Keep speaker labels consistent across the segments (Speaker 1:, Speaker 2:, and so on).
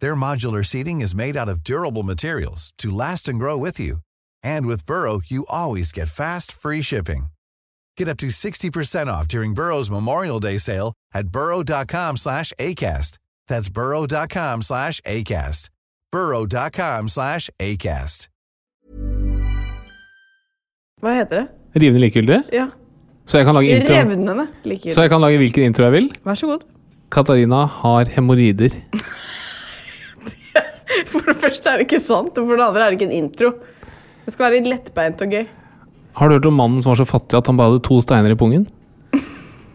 Speaker 1: Their modular seating is made out of durable materials to last and grow with you. And with Burrow, you always get fast, free shipping. Get up to 60% off during Burrow's Memorial Day sale at burrow.com slash ACAST. That's burrow.com slash ACAST. burrow.com slash ACAST.
Speaker 2: Hva heter det?
Speaker 3: Rivende likegyldig.
Speaker 2: Ja.
Speaker 3: Så jeg kan lage intro.
Speaker 2: Revnende liker.
Speaker 3: Så jeg kan lage hvilken intro jeg vil.
Speaker 2: Vær så god.
Speaker 3: Katarina har hemoroider.
Speaker 2: For det første er det ikke sant, og for det andre er det ikke en intro. Det skal være lettbeint og gøy.
Speaker 3: Har du hørt om mannen som var så fattig at han bare hadde to steiner i pungen?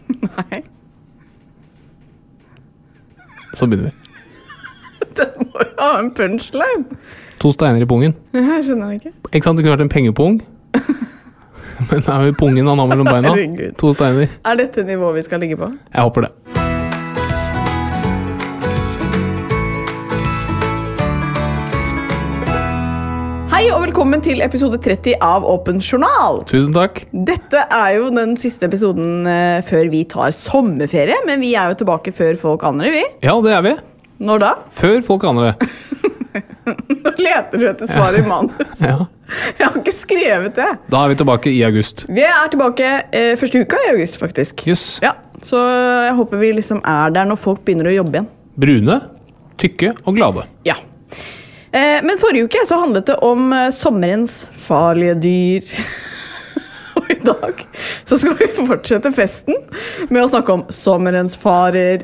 Speaker 2: Nei,
Speaker 3: Så begynner vi.
Speaker 2: det må jo ha en punchline.
Speaker 3: To steiner i pungen.
Speaker 2: Jeg skjønner det ikke.
Speaker 3: Ikke sant, det kunne vært en pengepung. Men det er vel pungen han har mellom beina.
Speaker 2: Herregud.
Speaker 3: To steiner.
Speaker 2: Er dette nivået vi skal ligge på?
Speaker 3: Jeg håper det.
Speaker 2: Hei og velkommen til episode 30 av Åpen journal.
Speaker 3: Tusen takk.
Speaker 2: Dette er jo den siste episoden eh, før vi tar sommerferie, men vi er jo tilbake før folk aner det, vi.
Speaker 3: Ja, det er vi.
Speaker 2: Når da?
Speaker 3: Før folk aner det.
Speaker 2: Nå leter du etter svar i manus.
Speaker 3: Ja.
Speaker 2: Jeg har ikke skrevet det.
Speaker 3: Da er vi tilbake i august.
Speaker 2: Vi er tilbake eh, første uka i august, faktisk.
Speaker 3: Jøss.
Speaker 2: Ja, Så jeg håper vi liksom er der når folk begynner å jobbe igjen.
Speaker 3: Brune, tykke og glade.
Speaker 2: Ja. Eh, men forrige uke så handlet det om eh, sommerens farlige dyr. Og i dag så skal vi fortsette festen med å snakke om sommerens farer.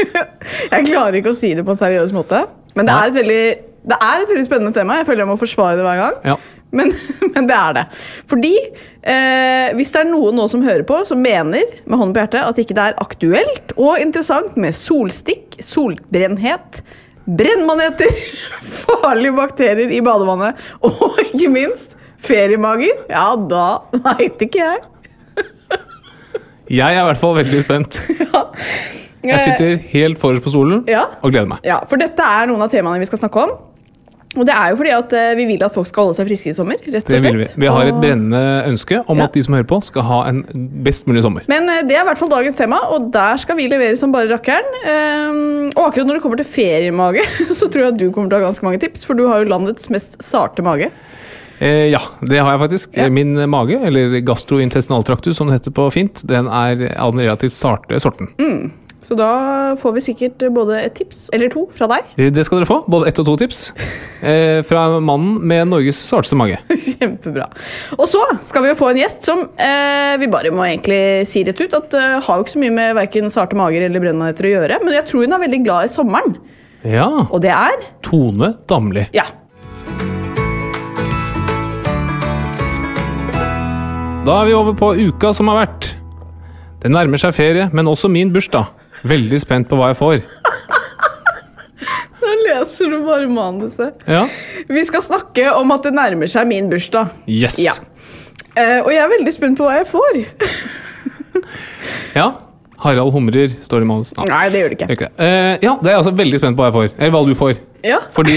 Speaker 2: jeg klarer ikke å si det på en seriøs måte, men det
Speaker 3: Nei.
Speaker 2: er et veldig, det er et veldig spennende tema. Jeg føler jeg må forsvare det hver gang.
Speaker 3: Ja.
Speaker 2: Men, men det er det. Fordi eh, hvis det er noen nå som hører på, som mener med hånden på hjertet at ikke det er aktuelt og interessant med solstikk, solbrennhet, brennmaneter, farlige bakterier i badevannet og ikke minst feriemager, ja, da veit ikke jeg.
Speaker 3: Jeg er i hvert fall veldig spent. Jeg sitter helt forrest på stolen
Speaker 2: Ja.
Speaker 3: og gleder meg.
Speaker 2: Eh, Ja, for dette er noen av temaene vi skal snakke om. Og det er jo fordi at eh, vi vil at folk skal holde seg friske i sommer. rett og
Speaker 3: Det vil vi.
Speaker 2: slett.
Speaker 3: Vi har et
Speaker 2: Og-
Speaker 3: brennende ønske om
Speaker 2: Ja.
Speaker 3: at de som hører på, skal ha en best mulig sommer.
Speaker 2: Men eh, det er i hvert fall dagens tema, og der skal vi levere som bare rakkeren. Ehm, og akkurat når det kommer til feriemage, så tror jeg at du kommer til å ha ganske mange tips, for du har jo landets mest sarte mage.
Speaker 3: Eh, ja, det har jeg faktisk.
Speaker 2: Ja.
Speaker 3: Min mage, eller gastrointestinaltraktus som det heter på fint, den er av den relativt sarte sorten.
Speaker 2: Mm. Så da får vi sikkert både et tips eller to fra deg.
Speaker 3: Eh, Det skal dere få. Både ett og to tips. Eh, fra mannen med Norges sarteste mage.
Speaker 2: Kjempebra. Og så skal vi jo få en gjest som eh, vi bare må egentlig si rett ut at eh, har jo ikke så mye med verken sarte mager eller brennmaneter å gjøre, men jeg tror hun er veldig glad i sommeren.
Speaker 3: Ja.
Speaker 2: Og det er
Speaker 3: Tone Damli.
Speaker 2: ja.
Speaker 3: Da er vi over på uka som har vært. Det nærmer seg ferie, men også min bursdag. Veldig spent på hva jeg får.
Speaker 2: Da leser du bare manuset.
Speaker 3: Ja.
Speaker 2: Vi skal snakke om at det nærmer seg min bursdag.
Speaker 3: Yes.
Speaker 2: Ja. Eh, og jeg er veldig spent på hva jeg får.
Speaker 3: Ja. Harald humrer, står det i manus. Nei,
Speaker 2: Nei, det gjør det
Speaker 3: det
Speaker 2: ikke.
Speaker 3: gjør ikke det. Eh, ja, det er jeg altså veldig spent på hva jeg får. Eller hva du får.
Speaker 2: Ja,
Speaker 3: Fordi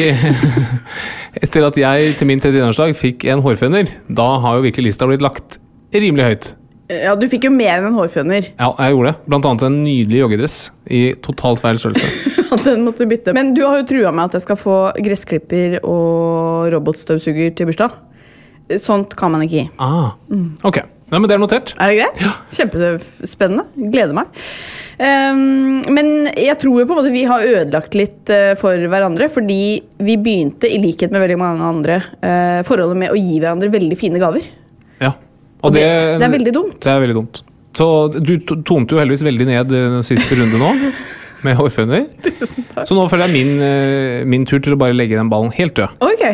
Speaker 3: etter at jeg til min 31-årsdag fikk en hårføner, da har jo virkelig lista blitt lagt rimelig høyt.
Speaker 2: ja Du fikk jo mer enn en hårføner.
Speaker 3: Ja, jeg gjorde det. Blant annet en nydelig joggedress i totalt feil størrelse.
Speaker 2: Den måtte du bytte. Men du har jo trua meg at jeg skal få gressklipper og robotstøvsuger til bursdag. Sånt kan man ikke gi.
Speaker 3: Ah, ok. Nei, men det er notert.
Speaker 2: Er det greit? Kjempespennende. Gleder meg. Ehm, men jeg tror jo på en måte vi har ødelagt litt eh, for hverandre, fordi vi begynte, i likhet med veldig mange andre, eh, forholdet med å gi hverandre veldig fine gaver.
Speaker 3: Ja. Og
Speaker 2: det, det er veldig dumt.
Speaker 3: Det er veldig dumt. Så du to- tonte jo heldigvis veldig ned eh, den siste runde nå, med hårføner.
Speaker 2: Tusen takk.
Speaker 3: Så nå føler jeg min, eh, min tur til å bare legge den ballen helt død,
Speaker 2: Ok,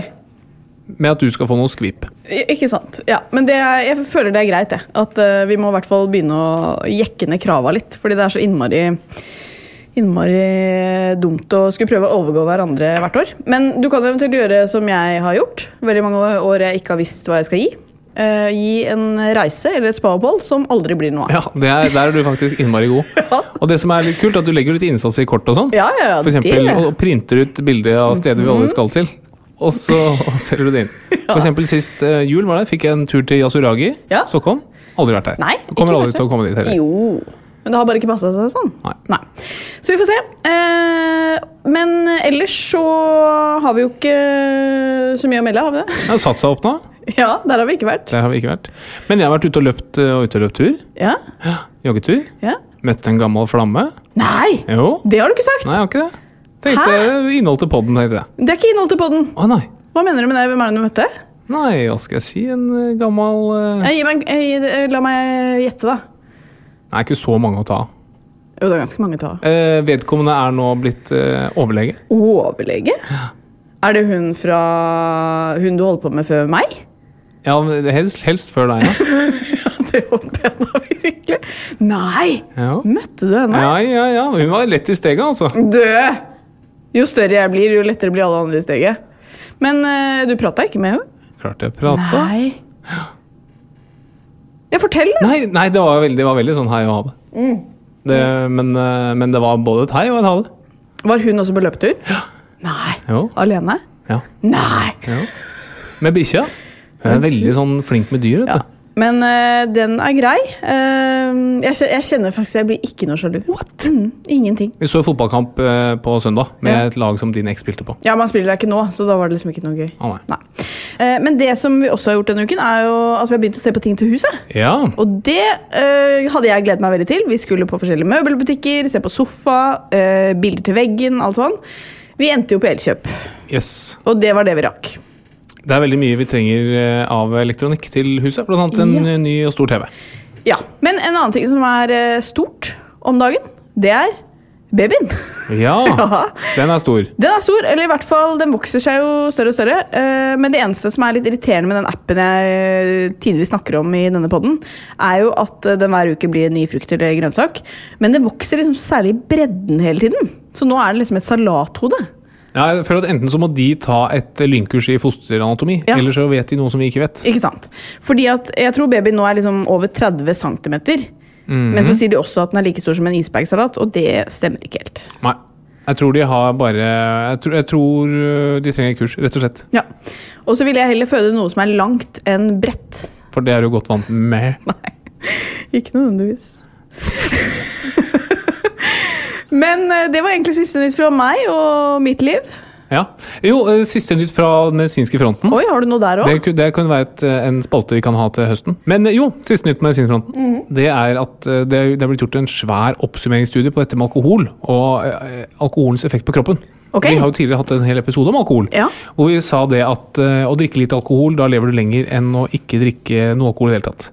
Speaker 3: med at du skal få noe skvip.
Speaker 2: I- ikke sant. Ja, men det er, jeg føler det er greit, jeg. At eh, vi må i hvert fall begynne å jekke ned krava litt. Fordi det er så innmari, innmari dumt å skulle prøve å overgå hverandre hvert år. Men du kan eventuelt gjøre som jeg har gjort. Veldig mange år jeg ikke har visst hva jeg skal gi. Eh, gi en reise eller et spaopphold som aldri blir noe av.
Speaker 3: Ja, det er, Der er du faktisk innmari god.
Speaker 2: Ja.
Speaker 3: Og det som er litt kult, er at du legger jo litt innsats i kort og sånn.
Speaker 2: Ja, ja, ja,
Speaker 3: For eksempel,
Speaker 2: det- Mhm.
Speaker 3: og og printer ut bilde av steder vi alle skal til. Og så og selger du det inn. For eksempel sist eh, jul var det, fikk jeg en tur til Yasuragi,
Speaker 2: Ja.
Speaker 3: Stockholm. Aldri vært der.
Speaker 2: Nei,
Speaker 3: Kommer
Speaker 2: ikke
Speaker 3: aldri
Speaker 2: vært
Speaker 3: til å
Speaker 2: det.
Speaker 3: komme dit heller.
Speaker 2: Jo, men det har bare ikke passa seg sånn.
Speaker 3: Nei.
Speaker 2: Så vi får se. Eh, men ellers så har vi jo ikke så mye å melde, har vi det?
Speaker 3: Ja, Satsa opp nå.
Speaker 2: Ja, der har vi ikke vært.
Speaker 3: Der har vi ikke vært. Men jeg har vært ute og løpt eh, og ute og løpt tur.
Speaker 2: Ja,
Speaker 3: Joggetur.
Speaker 2: ja.
Speaker 3: Møtte en gammel flamme.
Speaker 2: Nei!
Speaker 3: Jo.
Speaker 2: Det har du ikke sagt!
Speaker 3: Nei, jeg har ikke det. Tenkte Innhold til podden, tenkte jeg.
Speaker 2: Det er ikke innholdet til podden.
Speaker 3: Å nei.
Speaker 2: Hva mener du med det? Hvem er det du møtte?
Speaker 3: Nei, hva skal jeg si? En eh, gammel eh,
Speaker 2: Eh, gi meg, en- eh, gi- eh, la meg gjette, da.
Speaker 3: Nei, ikke så mange å ta av.
Speaker 2: Jo, det er ganske mange ta.
Speaker 3: Eh, vedkommende er nå blitt eh, overlege.
Speaker 2: Overlege? Er det hun fra Hun du holdt på med før meg?
Speaker 3: Ja, men helst, helst før deg, ja.
Speaker 2: Det håper jeg da virkelig. Nei!
Speaker 3: Ja.
Speaker 2: Møtte du henne?
Speaker 3: ja, ja, ja. Hun var lett i steget, altså.
Speaker 2: Død! Jo større jeg blir, jo lettere blir alle andre i steget. Men eh, du prata ikke med henne?
Speaker 3: Klarte jeg å prate.
Speaker 2: Nei. Ja, fortell, da.
Speaker 3: Nei, nei det, var veldig, det var veldig sånn hei og ha det.
Speaker 2: Mm.
Speaker 3: det men, eh, men det var både et hei og et ha det.
Speaker 2: Var hun også på løpetur? Nei.
Speaker 3: Jo.
Speaker 2: Alene?
Speaker 3: Ja.
Speaker 2: Nei!
Speaker 3: Med bikkja. Hun er veldig sånn flink med dyr, vet du.
Speaker 2: Men eh, den er grei. Eh, jeg, kje- jeg kjenner faktisk jeg blir ikke noe sjalu. Mm, ingenting.
Speaker 3: Vi så fotballkamp eh, på søndag med
Speaker 2: Ja.
Speaker 3: et lag som din eks spilte på.
Speaker 2: Ja, man spiller der ikke nå, så da var det liksom ikke noe gøy.
Speaker 3: Å, nei.
Speaker 2: Eh, men det som vi også har gjort denne uken, er jo at vi har begynt å se på ting til huset.
Speaker 3: Ja.
Speaker 2: Og det eh, hadde jeg gledet meg veldig til. Vi skulle på forskjellige møbelbutikker, se på sofa, eh, bilder til veggen, alt sånn. Vi endte jo på Elkjøp,
Speaker 3: Yes.
Speaker 2: og det var det vi rakk.
Speaker 3: Det er veldig mye vi trenger eh, av elektronikk til huset. Blant annet en
Speaker 2: Ja.
Speaker 3: eh, ny og stor TV.
Speaker 2: Ja, Men en annen ting som er eh, stort om dagen, det er babyen.
Speaker 3: Ja,
Speaker 2: Ja.
Speaker 3: den er stor.
Speaker 2: Den er stor, eller i hvert fall den vokser seg jo større og større. eh, Men det eneste som er litt irriterende med den appen jeg tidvis snakker om i denne podden, er jo at eh, den hver uke blir en ny frukt eller grønnsak. Men den vokser liksom særlig i bredden hele tiden. Så nå er det liksom et salathode.
Speaker 3: Ja, jeg føler at Enten så må de ta et lynkurs i fosteranatomi,
Speaker 2: Ja.
Speaker 3: eller så vet de noe som vi ikke vet.
Speaker 2: Ikke sant? Fordi at jeg tror babyen nå er liksom over 30 cm. Men så sier de også at den er like stor som en isbergsalat, og det stemmer ikke helt.
Speaker 3: Nei. Jeg tror de har bare Jeg tror, jeg tror øh, de trenger kurs, rett og slett.
Speaker 2: Ja. Og så vil jeg heller føde noe som er langt enn bredt.
Speaker 3: For det er du godt vant med.
Speaker 2: Ikke nødvendigvis. Men eh, det var egentlig siste nytt fra meg og mitt liv.
Speaker 3: Ja. Jo, øh, siste nytt fra den medisinske fronten.
Speaker 2: Oi, har du noe der
Speaker 3: Det,
Speaker 2: òg?
Speaker 3: ku- det kan være et, øh, en spalte vi kan ha til høsten. Men øh, jo, siste nytt på medisinfronten.
Speaker 2: Mhm.
Speaker 3: Det er at øh, det, er- det er blitt gjort en svær oppsummeringsstudie på dette med alkohol og øh, alkoholens effekt på kroppen.
Speaker 2: Ok.
Speaker 3: Vi har jo tidligere hatt en hel episode om alkohol.
Speaker 2: Ja.
Speaker 3: Hvor vi sa det at eh, å drikke litt alkohol, da lever du lenger enn å ikke drikke noe alkohol i det hele tatt.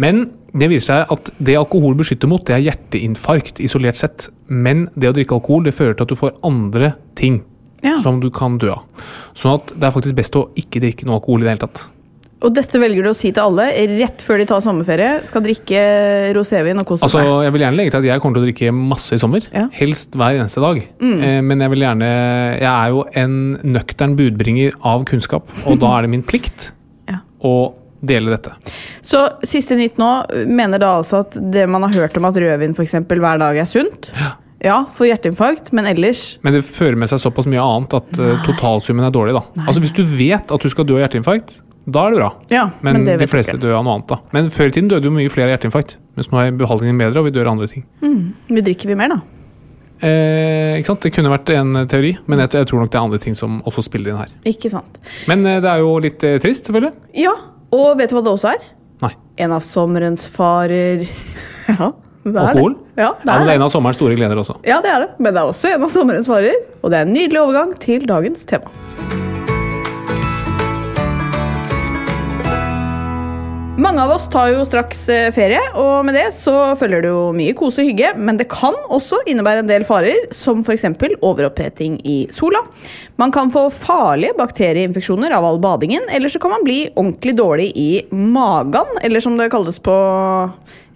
Speaker 3: Men det viser seg at det alkohol beskytter mot, det er hjerteinfarkt isolert sett. Men det å drikke alkohol, det fører til at du får andre ting
Speaker 2: Ja.
Speaker 3: som du kan dø av. Sånn at det er faktisk best å ikke drikke noe alkohol i det hele tatt.
Speaker 2: Og dette velger du å si til alle rett før de tar sommerferie. Skal drikke rosévin og kose
Speaker 3: Altså,
Speaker 2: seg.
Speaker 3: Jeg vil gjerne legge til at jeg kommer til å drikke masse i sommer.
Speaker 2: Ja. Mm.
Speaker 3: Helst hver eneste dag. Eh, Men jeg vil gjerne Jeg er jo en nøktern budbringer av kunnskap, og da er det min plikt
Speaker 2: Ja.
Speaker 3: å dele dette.
Speaker 2: Så siste nytt nå mener da altså at det man har hørt om at rødvin for eksempel, hver dag er sunt. Ja. for hjerteinfarkt, men ellers
Speaker 3: Men det fører med seg såpass mye annet at eh, totalsummen er dårlig. da. Altså Hvis du vet at du skal dø av hjerteinfarkt, da er det bra.
Speaker 2: Ja,
Speaker 3: men
Speaker 2: men det
Speaker 3: de
Speaker 2: vet jeg
Speaker 3: fleste
Speaker 2: ikke.
Speaker 3: dør av noe annet. da. Men før i tiden døde jo mye flere av hjerteinfarkt. Mens nå er behandlingen bedre, og vi dør av andre ting.
Speaker 2: vi drikker vi mer, da.
Speaker 3: Eh, ikke sant? Det kunne vært en eh, teori, men jeg, jeg tror nok det er andre ting som også spiller inn her.
Speaker 2: Ikke sant.
Speaker 3: Men eh, det er jo litt eh, trist, selvfølgelig.
Speaker 2: Ja, og vet du hva det også er?
Speaker 3: Nei.
Speaker 2: En av sommerens farer. Ja, det er
Speaker 3: Alkohol?
Speaker 2: Det. Ja, det
Speaker 3: Ja,
Speaker 2: er
Speaker 3: men det er
Speaker 2: det.
Speaker 3: en av sommerens store gleder også.
Speaker 2: Ja, det er det. Men det er også en av sommerens farer. Og det er en nydelig overgang til dagens tema. Mange av oss tar jo straks eh, ferie, og med det så følger det jo mye kose og hygge, men det kan også innebære en del farer, som f.eks. overoppheting i sola. Man kan få farlige bakterieinfeksjoner av all badingen, eller så kan man bli ordentlig dårlig i magen, eller som det kalles på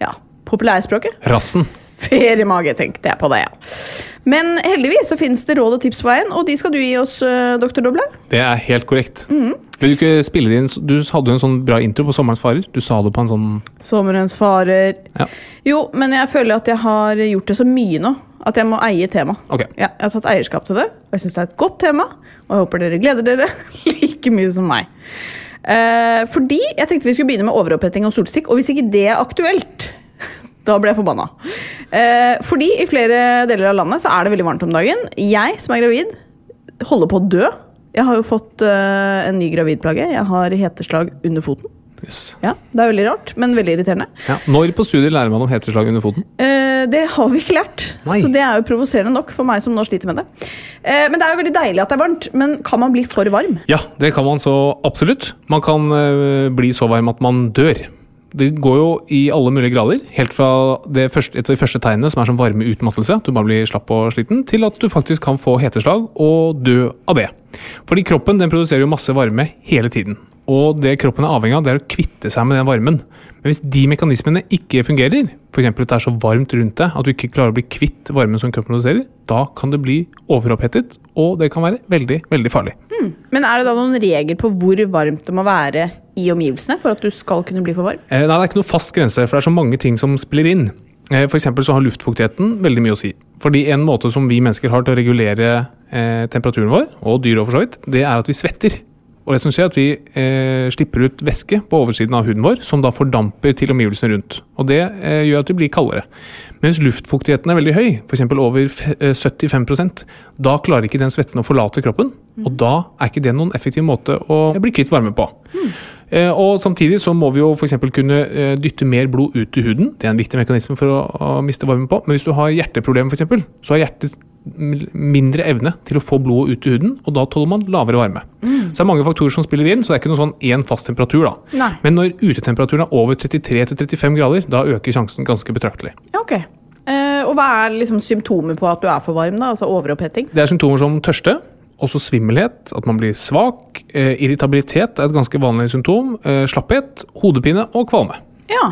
Speaker 2: ja, populærspråket
Speaker 3: Rassen.
Speaker 2: Feriemage, tenkte jeg på det, ja. Men heldigvis så finnes det råd og tips på veien, og de skal du gi oss, øh, doktor Doble.
Speaker 3: Det er helt korrekt.
Speaker 2: Mhm.
Speaker 3: Vil du ikke spille det inn? Du hadde jo en sånn bra intro på Sommerens farer. Du sa det på en sånn
Speaker 2: Sommerens farer.
Speaker 3: Ja.
Speaker 2: Jo, men jeg føler at jeg har gjort det så mye nå at jeg må eie temaet.
Speaker 3: Ok.
Speaker 2: Ja, jeg har tatt eierskap til det, og jeg syns det er et godt tema. Og jeg håper dere gleder dere like mye som meg. Eh, fordi jeg tenkte vi skulle begynne med overoppheting og solstikk, og hvis ikke det er aktuelt da ble jeg forbanna. Eh, fordi i flere deler av landet så er det veldig varmt om dagen. Jeg som er gravid, holder på å dø. Jeg har jo fått eh, en ny gravidplage. Jeg har heteslag under foten.
Speaker 3: Jøss.
Speaker 2: Ja, Det er veldig rart, men veldig irriterende.
Speaker 3: ja. Når på studiet lærer man om heterslag under foten?
Speaker 2: Eh, det har vi ikke lært,
Speaker 3: Nei.
Speaker 2: så det er jo provoserende nok for meg som nå sliter med det. Eh, men det er jo veldig deilig at det er varmt, men kan man bli for varm?
Speaker 3: Ja, det kan man så absolutt. Man kan eh, bli så varm at man dør. Det går jo i alle mulige grader. Helt fra det første, et av de første tegnene, som er som varmeutmattelse, at du bare blir slapp og sliten, til at du faktisk kan få heteslag og dø av det. Fordi kroppen den produserer jo masse varme hele tiden. Og det kroppen er avhengig av, det er å kvitte seg med den varmen. Men hvis de mekanismene ikke fungerer, f.eks. at det er så varmt rundt deg at du ikke klarer å bli kvitt varmen som kroppen produserer, da kan det bli overopphetet, og det kan være veldig, veldig farlig.
Speaker 2: Men er det da noen regel på hvor varmt det må være i omgivelsene for at du skal kunne bli for varm?
Speaker 3: Eh, Nei, det er ikke noe fast grense, for det er så mange ting som spiller inn. Eh, For eksempel så har luftfuktigheten veldig mye å si. Fordi en måte som vi mennesker har til å regulere eh, temperaturen vår, og dyr og for så vidt, det er at vi svetter. Og det som skjer er at vi eh, slipper ut væske på oversiden av huden vår, som da fordamper til omgivelsene rundt. Og det eh, gjør at vi blir kaldere. Mens luftfuktigheten er veldig høy, f.eks. over f- eh, 75 da klarer ikke den svetten å forlate kroppen. Og da er ikke det noen effektiv måte å bli kvitt varme på. Eh, Og Samtidig så må vi jo for eksempel kunne eh, dytte mer blod ut til huden. Det er en viktig mekanisme for å, å miste varme på. Men hvis du har hjerteproblemer, for eksempel, så har hjertet m- mindre evne til å få blodet ut til huden, og da tåler man lavere varme. Så det er mange faktorer som spiller inn, så det er ikke noe sånn én fast temperatur. da.
Speaker 2: Nei.
Speaker 3: Men når utetemperaturen er over 33-35 grader, da øker sjansen ganske betraktelig.
Speaker 2: Ja, ok. Eh, og hva er liksom symptomer på at du er for varm? da? Altså overoppheting?
Speaker 3: Det er symptomer som tørste, også svimmelhet, at man blir svak. Eh, irritabilitet er et ganske vanlig symptom. Eh, slapphet, hodepine og kvalme.
Speaker 2: Ja.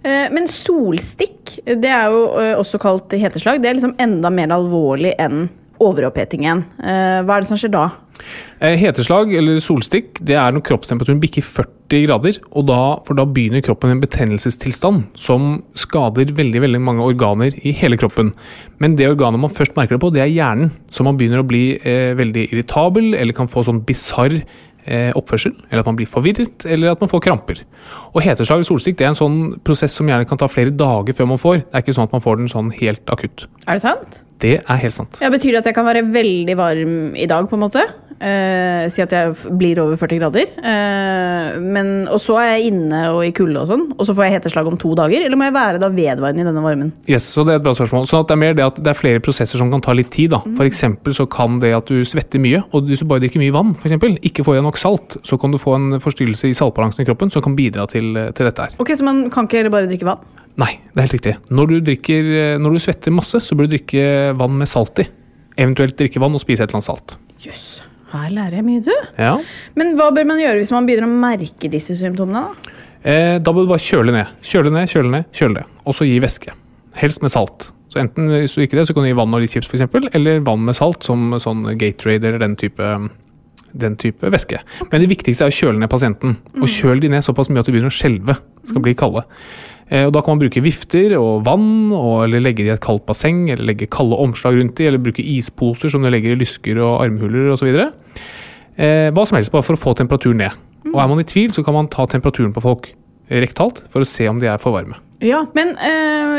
Speaker 2: Eh, men solstikk, det er jo eh, også kalt heteslag, det er liksom enda mer alvorlig enn overopphetingen. Eh, hva er det som skjer da?
Speaker 3: Eh, Heteslag eller solstikk det er når kroppstemperaturen bikker 40 grader. og da, For da begynner kroppen en betennelsestilstand som skader veldig veldig mange organer i hele kroppen. Men det organet man først merker det på, det er hjernen. Så man begynner å bli eh, veldig irritabel eller kan få sånn bisarr eh, oppførsel. Eller at man blir forvirret, eller at man får kramper. Og Heteslag eller solstikk det er en sånn prosess som gjerne kan ta flere dager før man får. Det er ikke sånn at man får den sånn helt akutt.
Speaker 2: Er det sant?
Speaker 3: Det er helt sant.
Speaker 2: Ja, Betyr det at jeg kan være veldig varm i dag, på en måte? Eh, si at jeg f- blir over 40 grader. Eh, men, og så er jeg inne og i kulde og sånn, og så får jeg heteslag om to dager? Eller må jeg være da vedvarende i denne varmen?
Speaker 3: Yes, så Det er et bra spørsmål. Sånn at det er mer det at det er flere prosesser som kan ta litt tid. da. For eksempel så kan det at du svetter mye, og hvis du bare drikker mye vann, for eksempel, ikke får i deg nok salt, så kan du få en forstyrrelse i saltbalansen i kroppen som kan bidra til, til dette her.
Speaker 2: Ok, Så man kan ikke bare drikke vann?
Speaker 3: Nei, det er helt riktig. Når du, drikker, eh, når du svetter masse, så bør du drikke vann med salt i. Eventuelt drikke vann og spise et eller annet salt.
Speaker 2: Jøss, her lærer jeg mye, du.
Speaker 3: Ja.
Speaker 2: Men hva bør man gjøre hvis man begynner å merke disse symptomene? da?
Speaker 3: Eh, da må du bare kjøle ned. Kjøle ned, kjøle ned, kjøle ned. Og så gi væske. Helst med salt. Så enten hvis du ikke det, så kan du gi vann og litt chips, f.eks., eller vann med salt, som sånn Gatorade eller den type, den type væske. Men det viktigste er å kjøle ned pasienten. Og kjøl de ned såpass mye at de begynner å skjelve. Skal bli kalde. Eh, og da kan man bruke vifter og vann, og, eller legge de i et kaldt basseng, eller legge kalde omslag rundt de, eller bruke isposer som du legger i lysker og armhuler osv. Eh, hva som helst bare for å få temperaturen ned. Og er man i tvil, så kan man ta temperaturen på folk eh, rektalt for å se om de er for varme.
Speaker 2: Ja, men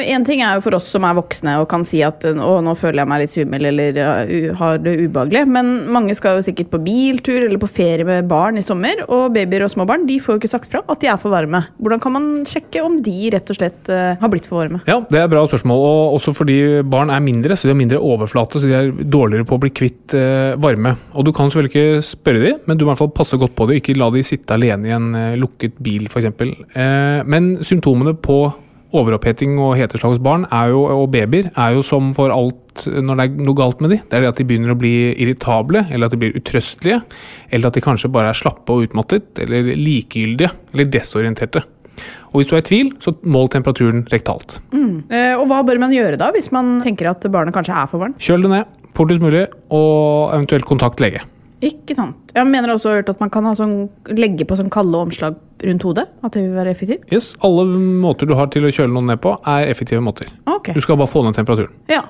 Speaker 2: én ting er jo for oss som er voksne og kan si at eh, å, nå føler jeg meg litt svimmel eller eh, u- har det ubehagelig, men mange skal jo sikkert på biltur eller på ferie med barn i sommer, og babyer og små barn de får jo ikke sagt fra at de er for varme. Hvordan kan man sjekke om de rett og slett eh, har blitt for varme?
Speaker 3: Ja, det er et bra spørsmål. Og også fordi barn er mindre, så de har mindre overflate, så de er dårligere på å bli kvitt eh, varme. Og du kan selvfølgelig ikke spørre dem, men du må i hvert fall passe godt på det. Ikke la de sitte alene i en eh, lukket bil, f.eks. Eh, men symptomene på overoppheting og heteslag hos barn er jo, og babyer er jo som for alt når det er noe galt med de. Det er det at de begynner å bli irritable, eller at de blir utrøstelige, eller at de kanskje bare er slappe og utmattet, eller likegyldige, eller desorienterte. Og hvis du er i tvil, så mål temperaturen rektalt.
Speaker 2: Eh, og hva bør man gjøre da, hvis man tenker at barnet kanskje er for varmt?
Speaker 3: Kjøl det ned fortest mulig, og eventuelt kontakt lege.
Speaker 2: Ikke sant. Jeg mener også hørt at man kan ha sånn, legge på sånn kalde omslag rundt hodet. At det vil være effektivt.
Speaker 3: Yes, Alle måter du har til å kjøle noen ned på, er effektive måter.
Speaker 2: Ok,
Speaker 3: Du skal bare få ned temperaturen.
Speaker 2: ja.